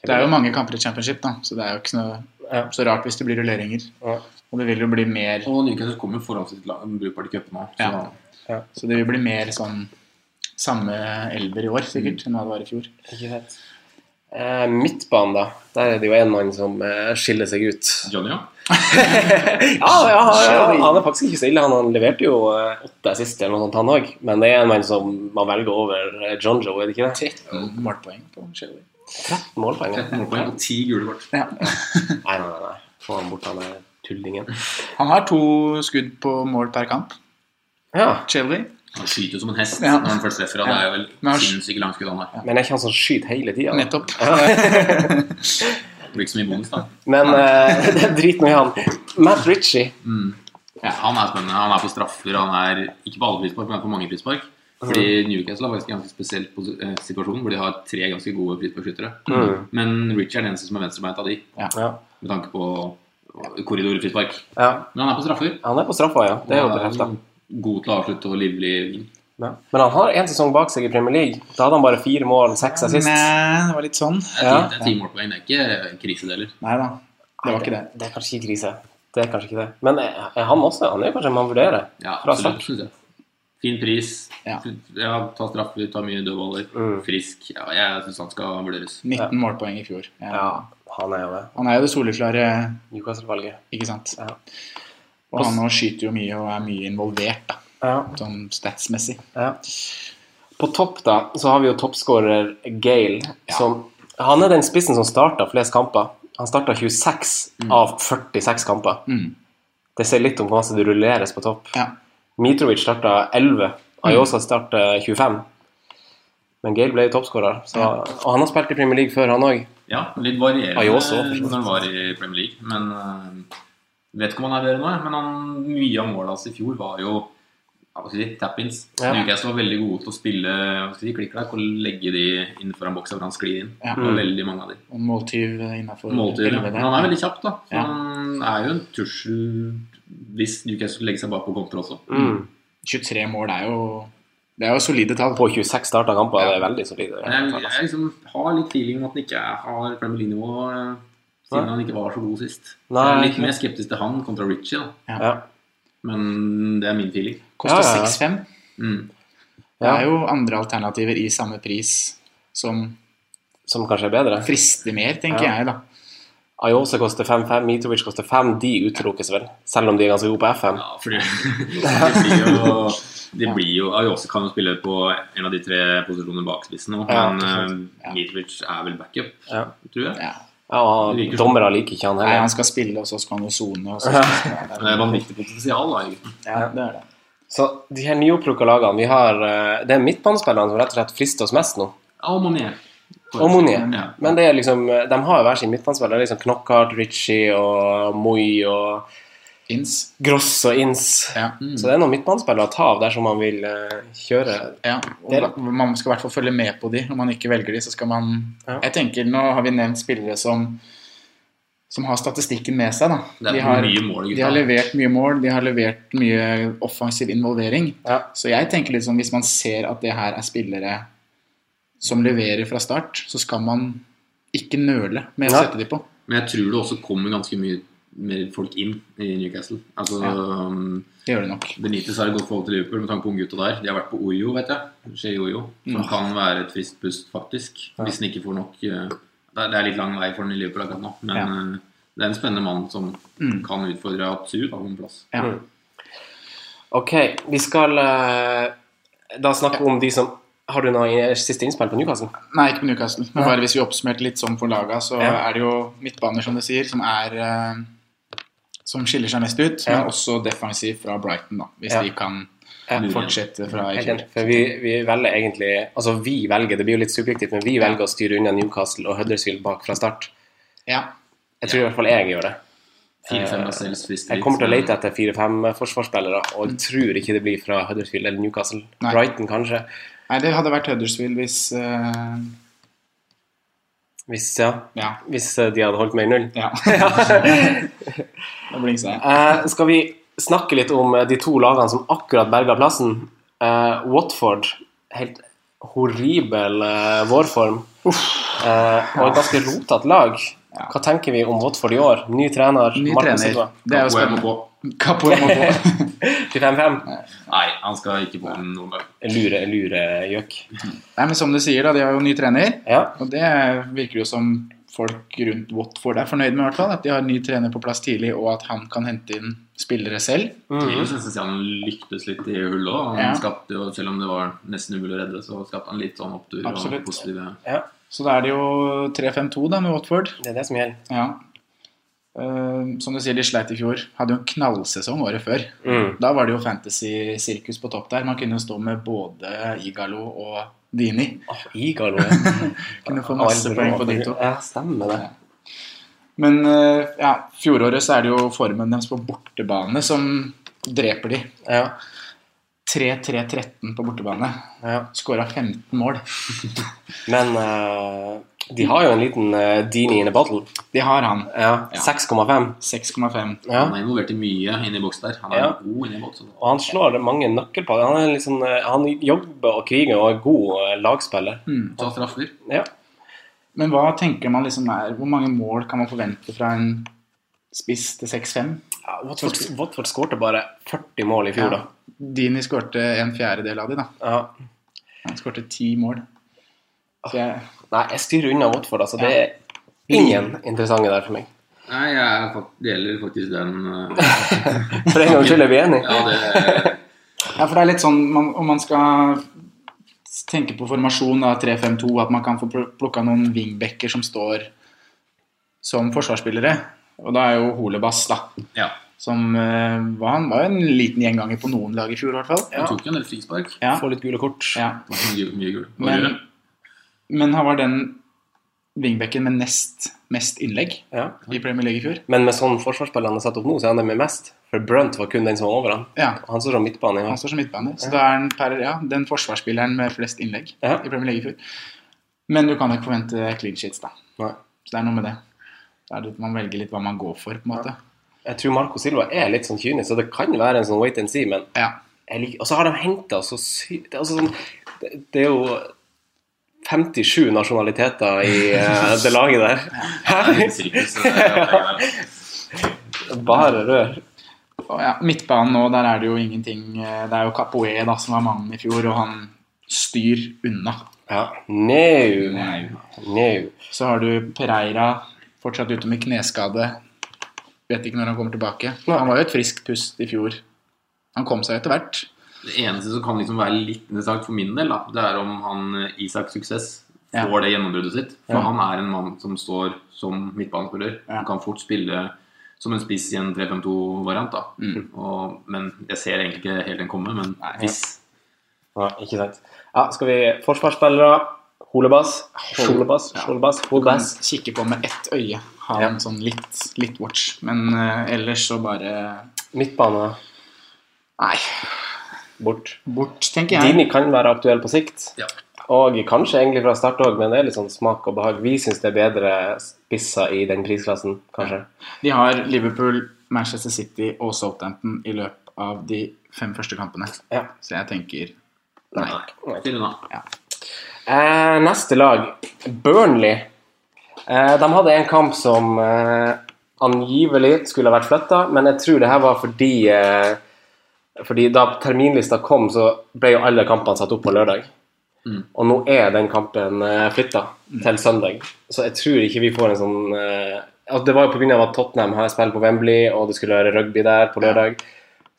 Det er jo mange kamper i championship, da, så det er jo ikke så,
Ja.
så rart hvis det blir rulleringer.
Ja.
Og det vil jo bli mer
Og Newcastle kommer jo foran sitt lag- brukbart i cupen nå. Så
Ja. Så det vil bli mer sånn samme elver i år, sikkert, enn hva det var i fjor.
Ikke sant. Eh, midtbanen, da. Der er det jo en mann som eh, skiller seg ut.
Johnny, ja.
Ja, ja, ja, ja, han er faktisk ikke så ille. Han, han leverte jo eh, åtte sist eller noe sånt, han òg. Men det er en mann som man velger over eh, John Joe, er det ikke det?
13 målpoeng på Shelby.
Målpoeng. ja.
13 målpoeng og 10 gule kort.
Ja.
Nei, nei, nei. nei. Få han bort, han er tullingen.
Han har to skudd på mål per kamp,
Ja.
Shelby.
Han skyter jo som en hest
Ja.
når han først treffer. og Det er jo
Men han-
vel sinnssykt langskudd han har.
Men er ikke han som skyter hele tida?
Nettopp.
Det Blir ikke så mye bonus, da.
Men eh, det er drit nå i han. Matt Ritchie.
Ja, han er spennende. Han er på straffer. Han er ikke på alle frispark, men han er på mange frispark. Fordi
Mm.
Newcastle har faktisk en ganske spesiell pos- eh, situasjon, hvor de har tre ganske gode frisparkskyttere.
Mm.
Men Richard er den eneste som er venstrebeint av de,
Ja.
med tanke på korridorfrispark.
ja.
Men han er på straffer.
Han er på straffa, ja. Det er jo
Han
bekrefta.
God til å avslutte og livlig
Ja. Men han har én sesong bak seg i Premier League. Da hadde han bare fire mål, seks
Nei,
assist.
det var litt sånn.
Det er
Ja.
ti- det er ti målpoeng, det er ikke en krise, det heller.
Nei da, det var ikke det.
Det er kanskje ikke krise. Det er kanskje ikke det. Men er er han også? Han er jo kanskje en man vurderer.
Ja,
Fra
absolutt, synes jeg. Fin pris. Ja.
Ja.
ta straffer, ta mye dødballer.
Mm.
Frisk. Ja, jeg syns han skal vurderes.
19 målpoeng i fjor. Ja.
Ja, han er jo det.
Han er jo det soleklare,
Newcastle-valget.
ikke sant.
Ja.
Og han nå skyter jo mye og er mye involvert, da,
Ja,
sånn statsmessig.
ja. På topp da, så har vi jo toppskårer Gale. Som, han er den spissen som starta flest kamper. Han starta 26 av 46 kamper.
Mm.
Det sier litt om hvor masse det rulleres på topp.
Ja.
Mitrovic starta 11. Ayosa starta 25. Men Gale ble jo toppskårer. så- Og han har spilt i Premier League før, han òg.
Ja, litt varierende
Ah, jo, så, for så vidt.
når han var i Premier League. Men eh, vet ikke om han er bedre nå. Men han, mye av målet hans i fjor var jo ja, hva skal jeg si, tap-ins.
Ja.
Newcastle var veldig gode til å spille hva skal jeg si, klikk-klakk og legge de innenfor en boks hvor han sklir inn.
Ja.
Det
Mm.
var Veldig mange av de.
Og måltyv innafor
Måltid, ja. Men han er veldig kjapp, da. Så
Ja.
Han er jo en trussel hvis Newcastle legger seg bak på kontra også.
Mm.
23 mål er jo Det er jo solide tall.
På 26 starta kamper. Det er veldig solid.
Men Jeg, jeg liksom har litt feeling om at han ikke er- har Premier League-nivå eh, siden han ikke var så god sist. Så jeg er
Nei,
litt mer skeptisk til han kontra Ritchie, da.
Ja.
Men det er min feeling.
Kosta
Ja, ja, ja.
6-5.
Mm.
Det
Ja.
er jo andre alternativer i samme pris som
Som kanskje er bedre.
frister mer, tenker
Ja.
jeg, da.
Ayose koster 5-5, Mitrovic koster 5. De utelukkes vel, selv om de er ganske gode på FM.
Ja, fordi det blir jo, det blir jo Ayose kan jo spille på en av de tre posisjonene bak spissen nå,
Ja,
men
ikke
eh, Mitrovic er vel backup,
Ja.
tror jeg.
Ja.
Ja, og dommere liker ikke han
Nei, han
heller.
skal spille, og så skal han jo sone, og så skal han
Det er vanvittig potensial, da. egentlig.
ja, det er det.
Så de her nyopplukka lagene vi har eh, Det er midtbanespillerne som rett og slett frister oss mest nå.
Ja, og Monet.
Og Monier.
Ja.
Men det er liksom, eh, de har jo hver sin midtbanespiller. Det er Liksom Knockhart, Ritchie og Moi og
Ins.
Gross og Ins.
Ja. Mm.
Så det er noen midtbanespillere å ta av dersom man vil eh, kjøre
Ja, og
Dere-
da- Man skal i hvert fall følge med på de. Om man ikke velger de, så skal man
Ja.
Jeg tenker, Nå har vi nevnt spillere som Som har statistikken med seg. da
Det er
De har,
mye mål, gutta.
de har levert mye mål, de har levert mye offensiv involvering.
Ja.
Så jeg tenker litt sånn, hvis man ser at det her er spillere som leverer fra start, så skal man ikke nøle med å
Nei.
sette de på.
Men jeg tror det også kommer ganske mye mer folk inn i Newcastle. Altså,
Ja.
um,
Det gjør de nok.
Benitez har et godt forhold til Liverpool med tanke på unggutta der. De har vært på Ojo, vet jeg. Skjer Ojo.
Mm.
Som kan være et friskt pust, faktisk. Hvis den ikke får nok eh, Det er det er litt lang vei for den i Liverpool akkurat nå, men eh, det er en spennende mann som
Mm.
kan utfordre absolutt av en plass.
Ja.
Mm. Ok, vi skal eh, da snakke om de som Har du noe i- siste innspill på Newcastle?
Nei, ikke på Newcastle. Men bare hvis vi oppsummerte litt sånn for laga, så
Ja.
er det jo midtbaner, som du sier, som er eh, Som skiller seg mest ut.
Ja.
Men også defensiv fra Brighton, da. Hvis
Ja.
de kan
Ja.
fortsette fra i
Helt
fjor.
enig. For vi, vi velger egentlig Altså, vi velger, det blir jo litt subjektivt, men vi velger å styre unna Newcastle og Huddersfield bak fra start.
Ja.
Jeg tror i hvert fall jeg gjør det.
Fire-fem av selv frister
Jeg
litt,
kommer til å
sånn-
men-
lete etter fire-fem eh, forsvarsspillere, og jeg tror ikke det blir fra Huddersfield eller Newcastle.
Mm. Nei.
Brighton, kanskje.
Nei, det hadde vært Huddersfield hvis eh,
Hvis, ja,
Ja.
hvis eh, de hadde holdt meg i null.
ja. da blingsa jeg.
Eh, skal vi snakke litt om eh, de to lagene som akkurat berga plassen? Eh, Watford, helt horribel eh, vårform. Eh, og et ganske rotete lag. Hva tenker vi om Watford i år? Ny trener,
Ny
Martin
trener.
Silva.
Det er jo
Kapoe må
spennende.
på.
Kapoe må på.
25-5.
Nei, han skal ikke på den noen gang.
Lure, lure gjøk.
Nei, men som du sier, da. De har jo ny trener.
Ja.
Og det virker jo som folk rundt Watford er fornøyd med, i hvert fall. At de har en ny trener på plass tidlig, og at han kan hente inn spillere selv.
Mm.
Tidligere synes jeg han lyktes litt i hullet òg. Han
Ja.
skapte jo, selv om det var nesten umulig å redde, så skapte han litt sånn opptur.
Absolutt.
Og positive.
ja.
Så da er det jo 3-5-2 da med Watford.
Det er det som gjelder.
Ja. Eh, som du sier, de sleit i fjor. Hadde jo en knallsesong året før.
Mm.
Da var det jo fantasy-sirkus på topp der. Man kunne jo stå med både Igalo og Dini.
Åh, Igalo. ja.
Kunne få masse poeng på de to.
Ja, stemmer det.
Men eh, ja, fjoråret så er det jo formen deres på bortebane som dreper de.
Ja.
3-3-13 på bortebane.
ja.
Skåra 15 mål.
Men eh, de har jo en liten uh, Dini in a bottle.
De har han.
Ja, 6,5.
6,5.
Ja.
Han er involvert i mye inni boks der. Han er
Ja.
god inni boks. altså.
Og han slår mange nøkkelpaller. Han, er liksom, eh, han jobber og kriger og er god eh, lagspiller.
Ta straffer.
Ja.
Men hva tenker man liksom er Hvor mange mål kan man forvente fra en spiss til 6-5?
Ja, Watford, Watford skårte bare 40 mål i fjor, da.
Dini skårte en fjerdedel av de, da.
Ja.
Han skårte ti mål. Så jeg,
Nei, jeg styrer unna Watford. altså. Det er ingen interessante der for meg.
Nei, jeg er fakt- det gjelder faktisk den eh,
For en gangs skyld er vi enige.
Ja, det
ja, for det er litt sånn man, Om man skal tenke på formasjon da, 3-5-2, at man kan få pl- plukka noen wingbacker som står som forsvarsspillere. Og da er jo Holebass, da.
Ja.
Som eh, var, han var jo en liten gjenganger på noen lag i fjor, i hvert fall.
Han tok jo en del frispark.
Ja.
Får litt gule kort.
Ja.
Det var Mye, mye gul. Og
Men,
rød.
men han var den wingbacken med nest mest innlegg
Ja.
i Premier League i fjor.
Men med sånn forsvarsspill han er satt opp nå, så er han det med mest. For Brunt var kun den som var over han.
Ja,
Han står som midtbane. Ja.
Han står som midtbane. Så da er han per, ja, den forsvarsspilleren med flest innlegg
Ja.
i Premier League i fjor. Men du kan ikke forvente clean sheets, da.
Nei.
Så det er noe med det. Da er det at Man velger litt hva man går for, på en måte.
Jeg tror Marco Silva er litt sånn kynisk, så det kan være en sånn wait and see, men
Ja.
jeg liker, og så har de henta så sykt altså sånn, det, det er jo 57 nasjonaliteter i eh, det laget der.
Det er litt sirkus, så det er- det er-
Bare rør.
Og ja, midtbanen nå, der er det jo ingenting eh, Det er jo Capoe da, som var mannen i fjor, og han styr unna.
Ja. No. No.
Så har du Pereira fortsatt ute med kneskade. Vet ikke når han kommer tilbake. Han var jo et friskt pust i fjor. Han kom seg etter hvert.
Det eneste som kan liksom være litt interessant for min del, da, det er om han eh, Isaks suksess
Ja.
får det gjennombruddet sitt. For han er en mann som står som midtbanespiller. Han kan fort spille som en spiss i en 3-5-2-variant. da.
Mm.
Og, men jeg ser egentlig ikke helt den komme, men hvis
Ja, ikke sant. Ja, skal vi Forsvarsspillere. Holebass. Holebass. Holebass. Holebass.
Kikke på med ett øye. Ha en sånn litt, litt watch. Men eh, ellers så bare
Midtbane
Nei,
bort.
bort, tenker jeg.
Dini kan være aktuell på sikt.
Ja.
Og kanskje egentlig fra start òg, men det er litt sånn smak og behag. Vi syns det er bedre spisser i den prisklassen, kanskje.
De har Liverpool, Manchester City og Southampton i løpet av de fem første kampene.
Ja.
Så jeg tenker
Nei. Nei.
Til unna.
Eh, neste lag, Burnley. Eh, de hadde en kamp som eh, angivelig skulle ha vært flytta, men jeg tror det her var fordi eh, Fordi da terminlista kom, så ble jo alle kampene satt opp på lørdag. Og nå er den kampen eh, flytta til søndag, så jeg tror ikke vi får en sånn eh, altså Det var jo pga. at Tottenham har spilt på Wembley, og det skulle være rugby der på lørdag.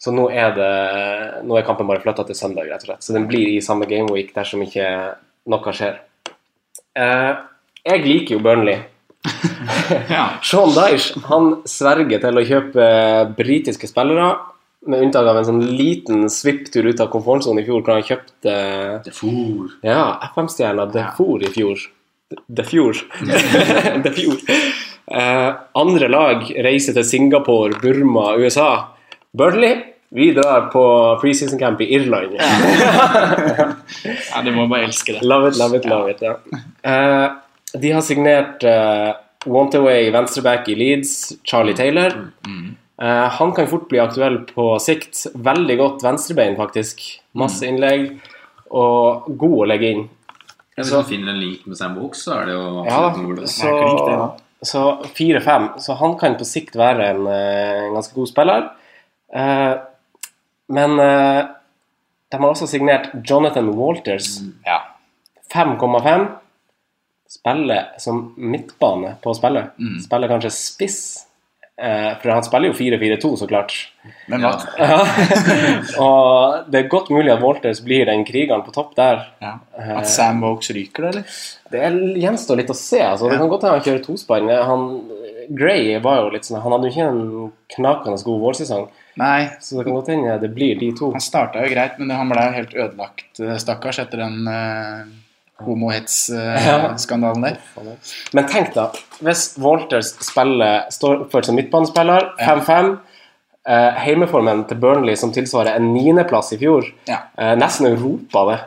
Så nå er, det, nå er kampen bare flytta til søndag, rett og slett. Så den blir i samme gameweek dersom ikke noe skjer. Eh, jeg liker jo Burnley.
Ja.
Sean Dyche han sverger til å kjøpe britiske spillere, med unntak av en sånn liten svipptur ut av komfortsonen i fjor, hvor han kjøpte
Det for.
ja, FM-stjerna Defour i fjor. Defour. Defour. Eh, andre lag reiser til Singapore, Burma, USA. Burnley, vi drar på preseason camp i Irland.
ja, de må bare elske det.
Love it, love it, love it, ja. Eh, de har signert uh, Wantaway venstreback i Leeds, Charlie Taylor. Eh, han kan fort bli aktuell på sikt. Veldig godt venstrebein, faktisk. Masse innlegg, og god å legge inn.
Hvis
Så-
man finner en link med Sam Box, så er det jo
Ja
absolutt noe
da,
det.
så, så 4-5. Så han kan på sikt være en, eh, en ganske god spiller. Eh, men eh, de har også signert Jonathan Walters.
Mm,
Ja.
5,5. Spiller som midtbane på spillet.
Mm.
Spiller kanskje spiss. Eh, for han spiller jo 4-4-2, så klart.
Men hva?
Og det er godt mulig at Walters blir den krigeren på topp der.
Ja. At Sam Vokes ryker det, eller?
Det er- gjenstår litt å se. altså. Det kan godt hende han kjører tospann. Han- Gray var jo litt sånn Han hadde jo ikke en knakende god vårsesong,
Nei,
så det kan godt hende det blir de to.
han starta jo greit, men han ble jo helt ødelagt, eh, stakkars, etter den uh,
Ja.
homohets-skandalen der.
Men tenk, da. Hvis Walters spiller, står oppført som midtbanespiller, 5-5 eh, Heimeformen til Burnley som tilsvarer en niendeplass i fjor,
Ja.
eh, nesten Europa, det.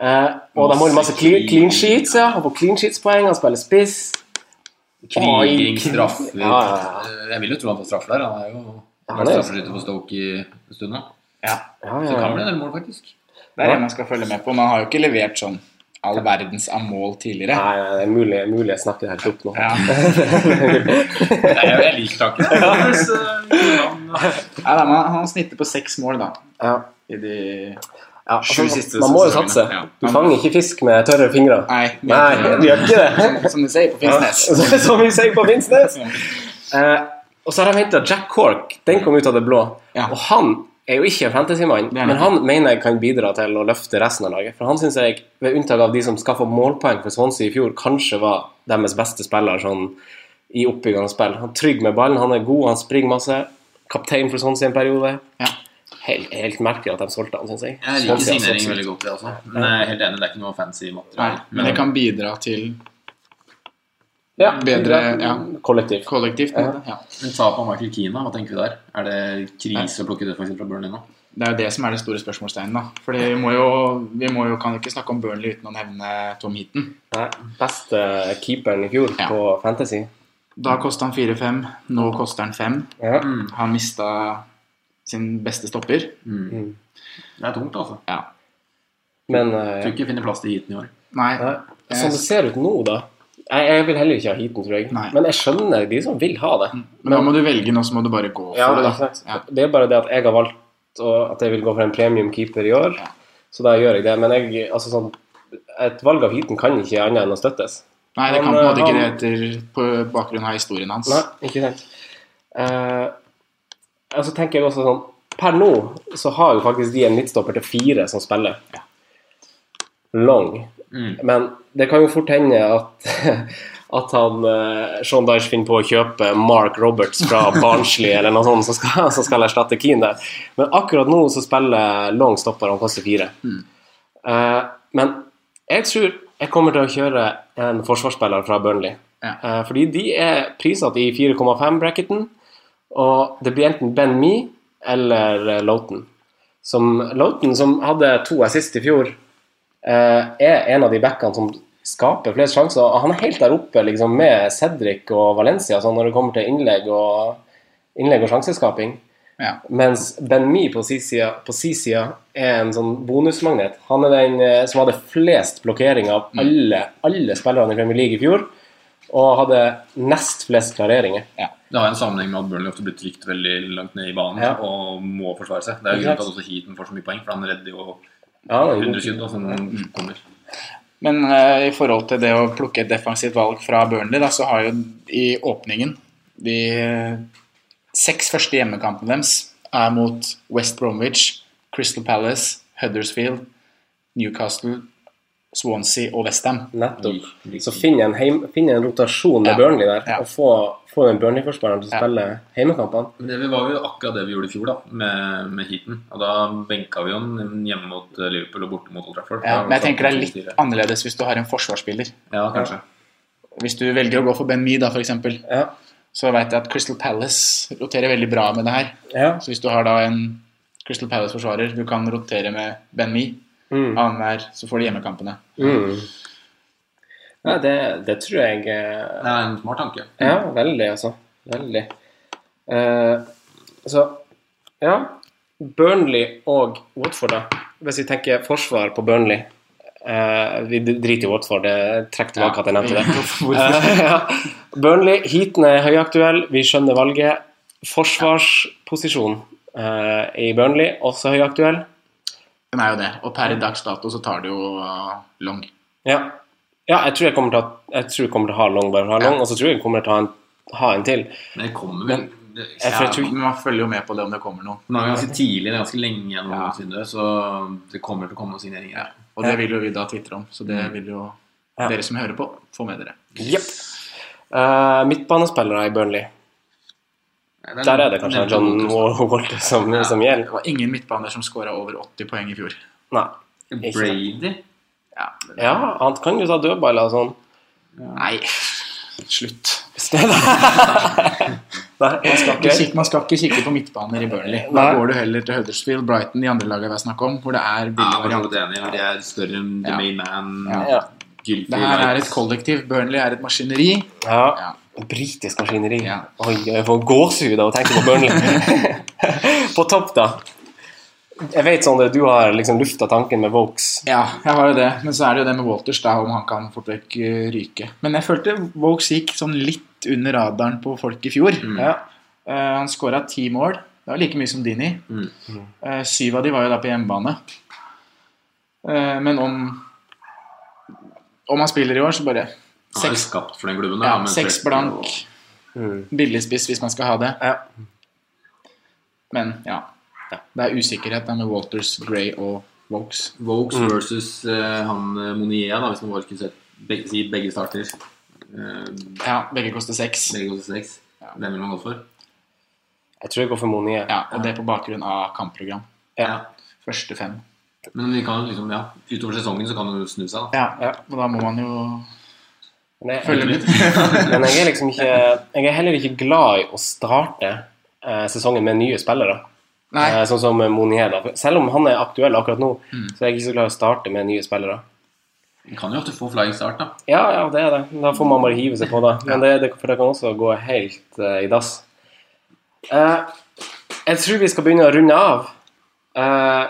Eh, og de holder masse clean, clean sheets, ja. Han får clean sheets-poeng, han spiller spiss.
Kriging, straffer
Ja, ja,
Jeg vil jo tro han får straffer der. Han er jo
Ja,
vært
det er-
straffeskytter for Stoke i en stund nå.
Ja.
Ja,
Så det
ja,
kan bli
ja.
en del mål, faktisk.
Det er det man skal følge med på. Man har jo ikke levert sånn all verdens av mål tidligere.
Nei, nei, det er mulig, mulig jeg snakker helt opp nå.
Ja.
Nei, jeg, jeg liker taket. Det høres, eh,
Nei, da, man, han snitter på seks mål, da.
Ja.
I de
Ja, altså,
Sju siste
man må jo
sesongene.
satse.
Ja.
Du fanger ikke fisk med tørre fingre.
Nei, vi-
Nei, du gjør ikke det.
som de sier på Finnsnes.
Som vi sier på Finnsnes. Eh, og så har de henta Jack Cork. Den kom ut av det blå.
Ja.
Og han er jo ikke en fantasymann,
er han
men han mener jeg kan bidra til å løfte resten av laget. For han syns jeg, ved unntak av de som skaffa målpoeng for Swansea i fjor, kanskje var deres beste spiller sånn i oppbyggende spill. Han er trygg med ballen, han er god, han springer masse. Kaptein for Swansea en periode.
Ja.
Helt, helt merkelig at de solgte han, syns jeg. sånn
Jeg liker
Swansea har
signeringen
solgt.
veldig godt, det også. Men jeg er helt enig, det er ikke noe fancy
Nei,
materiale.
men det kan bidra til
Ja, eh,
Bedre, ja.
kollektiv.
kollektivt. men- Ja.
Men tap av Michael Keane, hva tenker vi der? Er det krise å plukke det faktisk fra Burnley nå?
Det er jo det som er det store spørsmålstegnet. da. For vi, må jo- vi må jo, kan ikke snakke om Burnley uten å nevne Tom Heaton.
Nei, beste keeperen i fjor
Ja.
på Fantasy.
Da kosta han 4-5, nå koster han 5.
Ja.
Han mista sin beste stopper.
Mm.
Det er tungt, altså.
Ja.
Men eh,
Mm.
Tror ikke vi finner plass til heaten i år.
Nei, Eh,
nei, som det sånn ser ut nå, da Jeg, jeg vil heller ikke ha heaten, tror jeg.
Nei.
Men jeg skjønner de som vil ha det.
men da må du velge nå, så må du bare gå for
Ja,
det.
ikke
da.
sant?
Ja.
Det er bare det at jeg har valgt å, at jeg vil gå for en premium keeper i år,
Ja.
så da gjør jeg det. Men jeg, altså sånn et valg av heaten kan ikke annet enn å støttes.
Nei, det kan på
Men,
en måte
eh,
ikke det etter på bakgrunn av historien hans.
Nei, ikke sant. Eh, og så tenker jeg også sånn Per nå så har jo faktisk de en midtstopper til fire som spiller. Long. Men det kan jo fort hende at, at han eh, Sean Dyche finner på å kjøpe Mark Roberts fra Barnsley eller noe sånt, som skal, som skal erstatte Keane der. Men akkurat nå så spiller Long stopper, han koster fire. Eh, men jeg tror jeg kommer til å kjøre en forsvarsspiller fra Burnley.
Ja.
Eh, fordi de er prissatt i 4,5-bracketen, og det blir enten Ben Me eller eh, Loughton. Som, Loughton, som hadde to assist i fjor, eh, er en av de backene som skaper flest sjanser. og Han er helt der oppe liksom, med Cedric og Valencia sånn, når det kommer til innlegg og, innlegg og sjanseskaping.
Ja.
Mens Ben Mi på si side på si side er en sånn bonusmagnet. Han er den eh, som hadde flest blokkeringer av alle, alle spillerne i Premier League i fjor. Og hadde nest flest klareringer.
Det har en sammenheng med at Burnley ofte blir trykt veldig langt ned i banen
Ja.
og må forsvare seg. Det er jo
Ikke
grunnen til at
sant?
også Heaton får så mye poeng, for han redder jo
Ja, han er god.
100 skudd da, som kommer.
Men eh, i forhold til det å plukke et defensivt valg fra Burnley, da, så har jo i åpningen de eh, seks første hjemmekampene deres er mot West Bromwich, Crystal Palace, Huddersfield, Newcastle, Swansea og Westham.
Nettopp. Så finn en, heim, finn en rotasjon med
Ja.
Burnley der,
Ja.
og få, få den Burnley-forsvareren til å
Ja.
spille heimekampene.
Men Det var jo akkurat det vi gjorde i fjor da, med, med Heaton. Og da benka vi jo han hjemme mot eh, Liverpool og borte mot Old Trafford. Da
Ja, Eh, men jeg tenker det
satt
er litt
han på 2-4.
annerledes hvis du har en forsvarsspiller.
Ja, kanskje.
Hvis du velger å gå for Ben Mee, da, for eksempel,
Ja.
så vet jeg at Crystal Palace roterer veldig bra med det her.
Ja.
Så hvis du har da en Crystal Palace-forsvarer du kan rotere med Ben Mee,
Mm.
annenhver, så får du hjemmekampene.
Mm. Nei, det, det tror jeg eh,
Det er en smart tanke.
Ja, veldig, altså. Veldig. Eh, så ja. Burnley og Watford, da. Hvis vi tenker forsvar på Burnley eh, Vi driter i Watford, det trekk tilbake at jeg nevnte det. Eh, ja. Burnley, heaten er høyaktuell, vi skjønner valget. Forsvarsposisjon eh, i Burnley, også høyaktuell.
Den er jo det. Og per dags dato så tar det jo uh, long.
Ja. ja, jeg tror jeg kommer til å, jeg tror jeg kommer til å ha Long, bare for å ha Long, og så tror jeg jeg kommer til å ha en, ha en til.
Men det kommer vel det,
Jeg tror-
ja,
tror-
Men man følger jo med på det om det kommer noe.
men det er ganske tidlig, det er ganske lenge igjen, nå,
Ja.
siden det, så det kommer til å komme noen signeringer. her.
Og det vil jo vi da tvitre om. Så det vil jo
Ja.
dere som hører på, få med dere.
Jepp. Eh, midtbanespillere i Burnley.
Nei,
Der er det kanskje
nevnte
John
Lucas.
Walter som, som gjelder.
Det var ingen midtbaner som scora over 80 poeng i fjor.
Nei. Ikke sant.
Brady?
Ja, han kan jo ta dødballer og sånn.
Nei, slutt.
Nei, han skal
Man skal,
ikke
ikke, man skal ikke kikke på midtbaner i Burnley. Da
Nei.
går du heller til Huddersfield, Brighton, de andre lagene vi har snakket om, hvor det er
Ja,
billige
jeg er
varianter.
helt enig. De er større enn The
Ja.
Main Man.
Ja.
Gylfi,
Det her er
Knights.
et kollektiv. Burnley er et maskineri.
Ja. Britisk maskineri.
Ja.
Oi, jeg får gåsehud av å tenke på Burnley. på topp, da. Jeg vet sånn at du har liksom lufta tanken med Vokes.
Ja, jeg har jo det. Men så er det jo det med Walters, da, om han kan fort vekk eh, ryke. Men jeg følte Vokes gikk sånn litt under radaren på folk i fjor.
Mm.
Ja.
Eh, han skåra ti mål. Det var like mye som Dini.
Mm.
Eh, syv av de var jo da på hjemmebane. Eh, men om Om han spiller i år, så bare
Han er jo
Seks,
skapt for den klubben.
ja,
da, men
seks
Trent er jo-
blank.
Mm.
Billigspiss, hvis man skal ha det.
Ja.
Men ja. Det er usikkerhet da, med Walters, Gray og Vokes.
Vokes versus eh, han eh, Monier, da, hvis man bare skulle sett begge, si begge starter. Eh,
Ja, begge koster seks.
begge går til seks. Hvem vil man gå for?
Jeg tror jeg går for Monier.
Ja, og det på bakgrunn av kampprogram.
Ja.
Første fem.
Men vi kan jo liksom, ja, utover sesongen så kan han jo snu seg. da.
Ja, og da må man jo
Men jeg-
følge med.
Men jeg er liksom ikke Jeg er heller ikke glad i å starte eh, sesongen med nye spillere.
Nei,
Eh, sånn som Monier. da. For Selv om han er aktuell akkurat nå, så er jeg ikke så glad i å starte med nye spillere.
Vi kan jo ofte få flying start, da.
Ja, ja, det er det. Da får man bare hive seg på det. Men det, det, for det kan også gå helt eh, i dass. Eh, jeg tror vi skal begynne å runde av. Eh,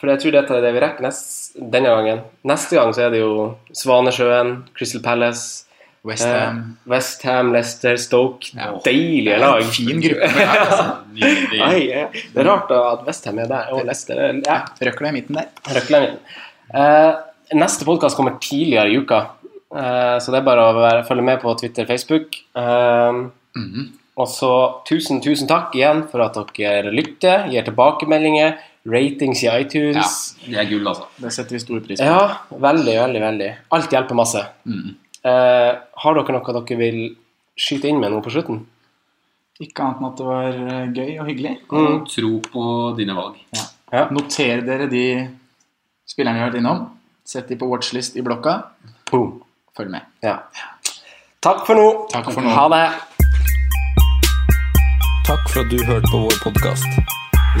for jeg tror dette er det vi rekker nest, denne gangen. Neste gang så er det jo Svanesjøen, Crystal Palace,
West Ham.
Westham, West Ham, Leicester, Stoke. Deilige lag.
Fin gruppe. for deg, altså.
Nydelig.
Nei, eh, det er rart at Westham er der, og Leicester er ja,
Røkla i midten der.
Røkland. Eh, neste podkast kommer tidligere i uka, Eh, så det er bare å være, følge med på Twitter og Facebook. Eh, Og så tusen, tusen takk igjen for at dere lytter, gir tilbakemeldinger, ratings i iTunes.
Det er gull, altså.
Det setter vi stor pris
Ja,
på.
veldig, veldig, veldig. Alt hjelper masse. Eh, har dere noe dere vil skyte inn med nå på slutten?
Ikke annet enn at det var eh, gøy og hyggelig.
Og tro på dine valg.
Noter dere de spillerne vi har vært innom. Sett de på watchlist i blokka.
Boom.
Følg med.
Ja. Takk for nå.
Takk for nå.
Ha det.
Takk for at du hørte på vår podkast.
Vi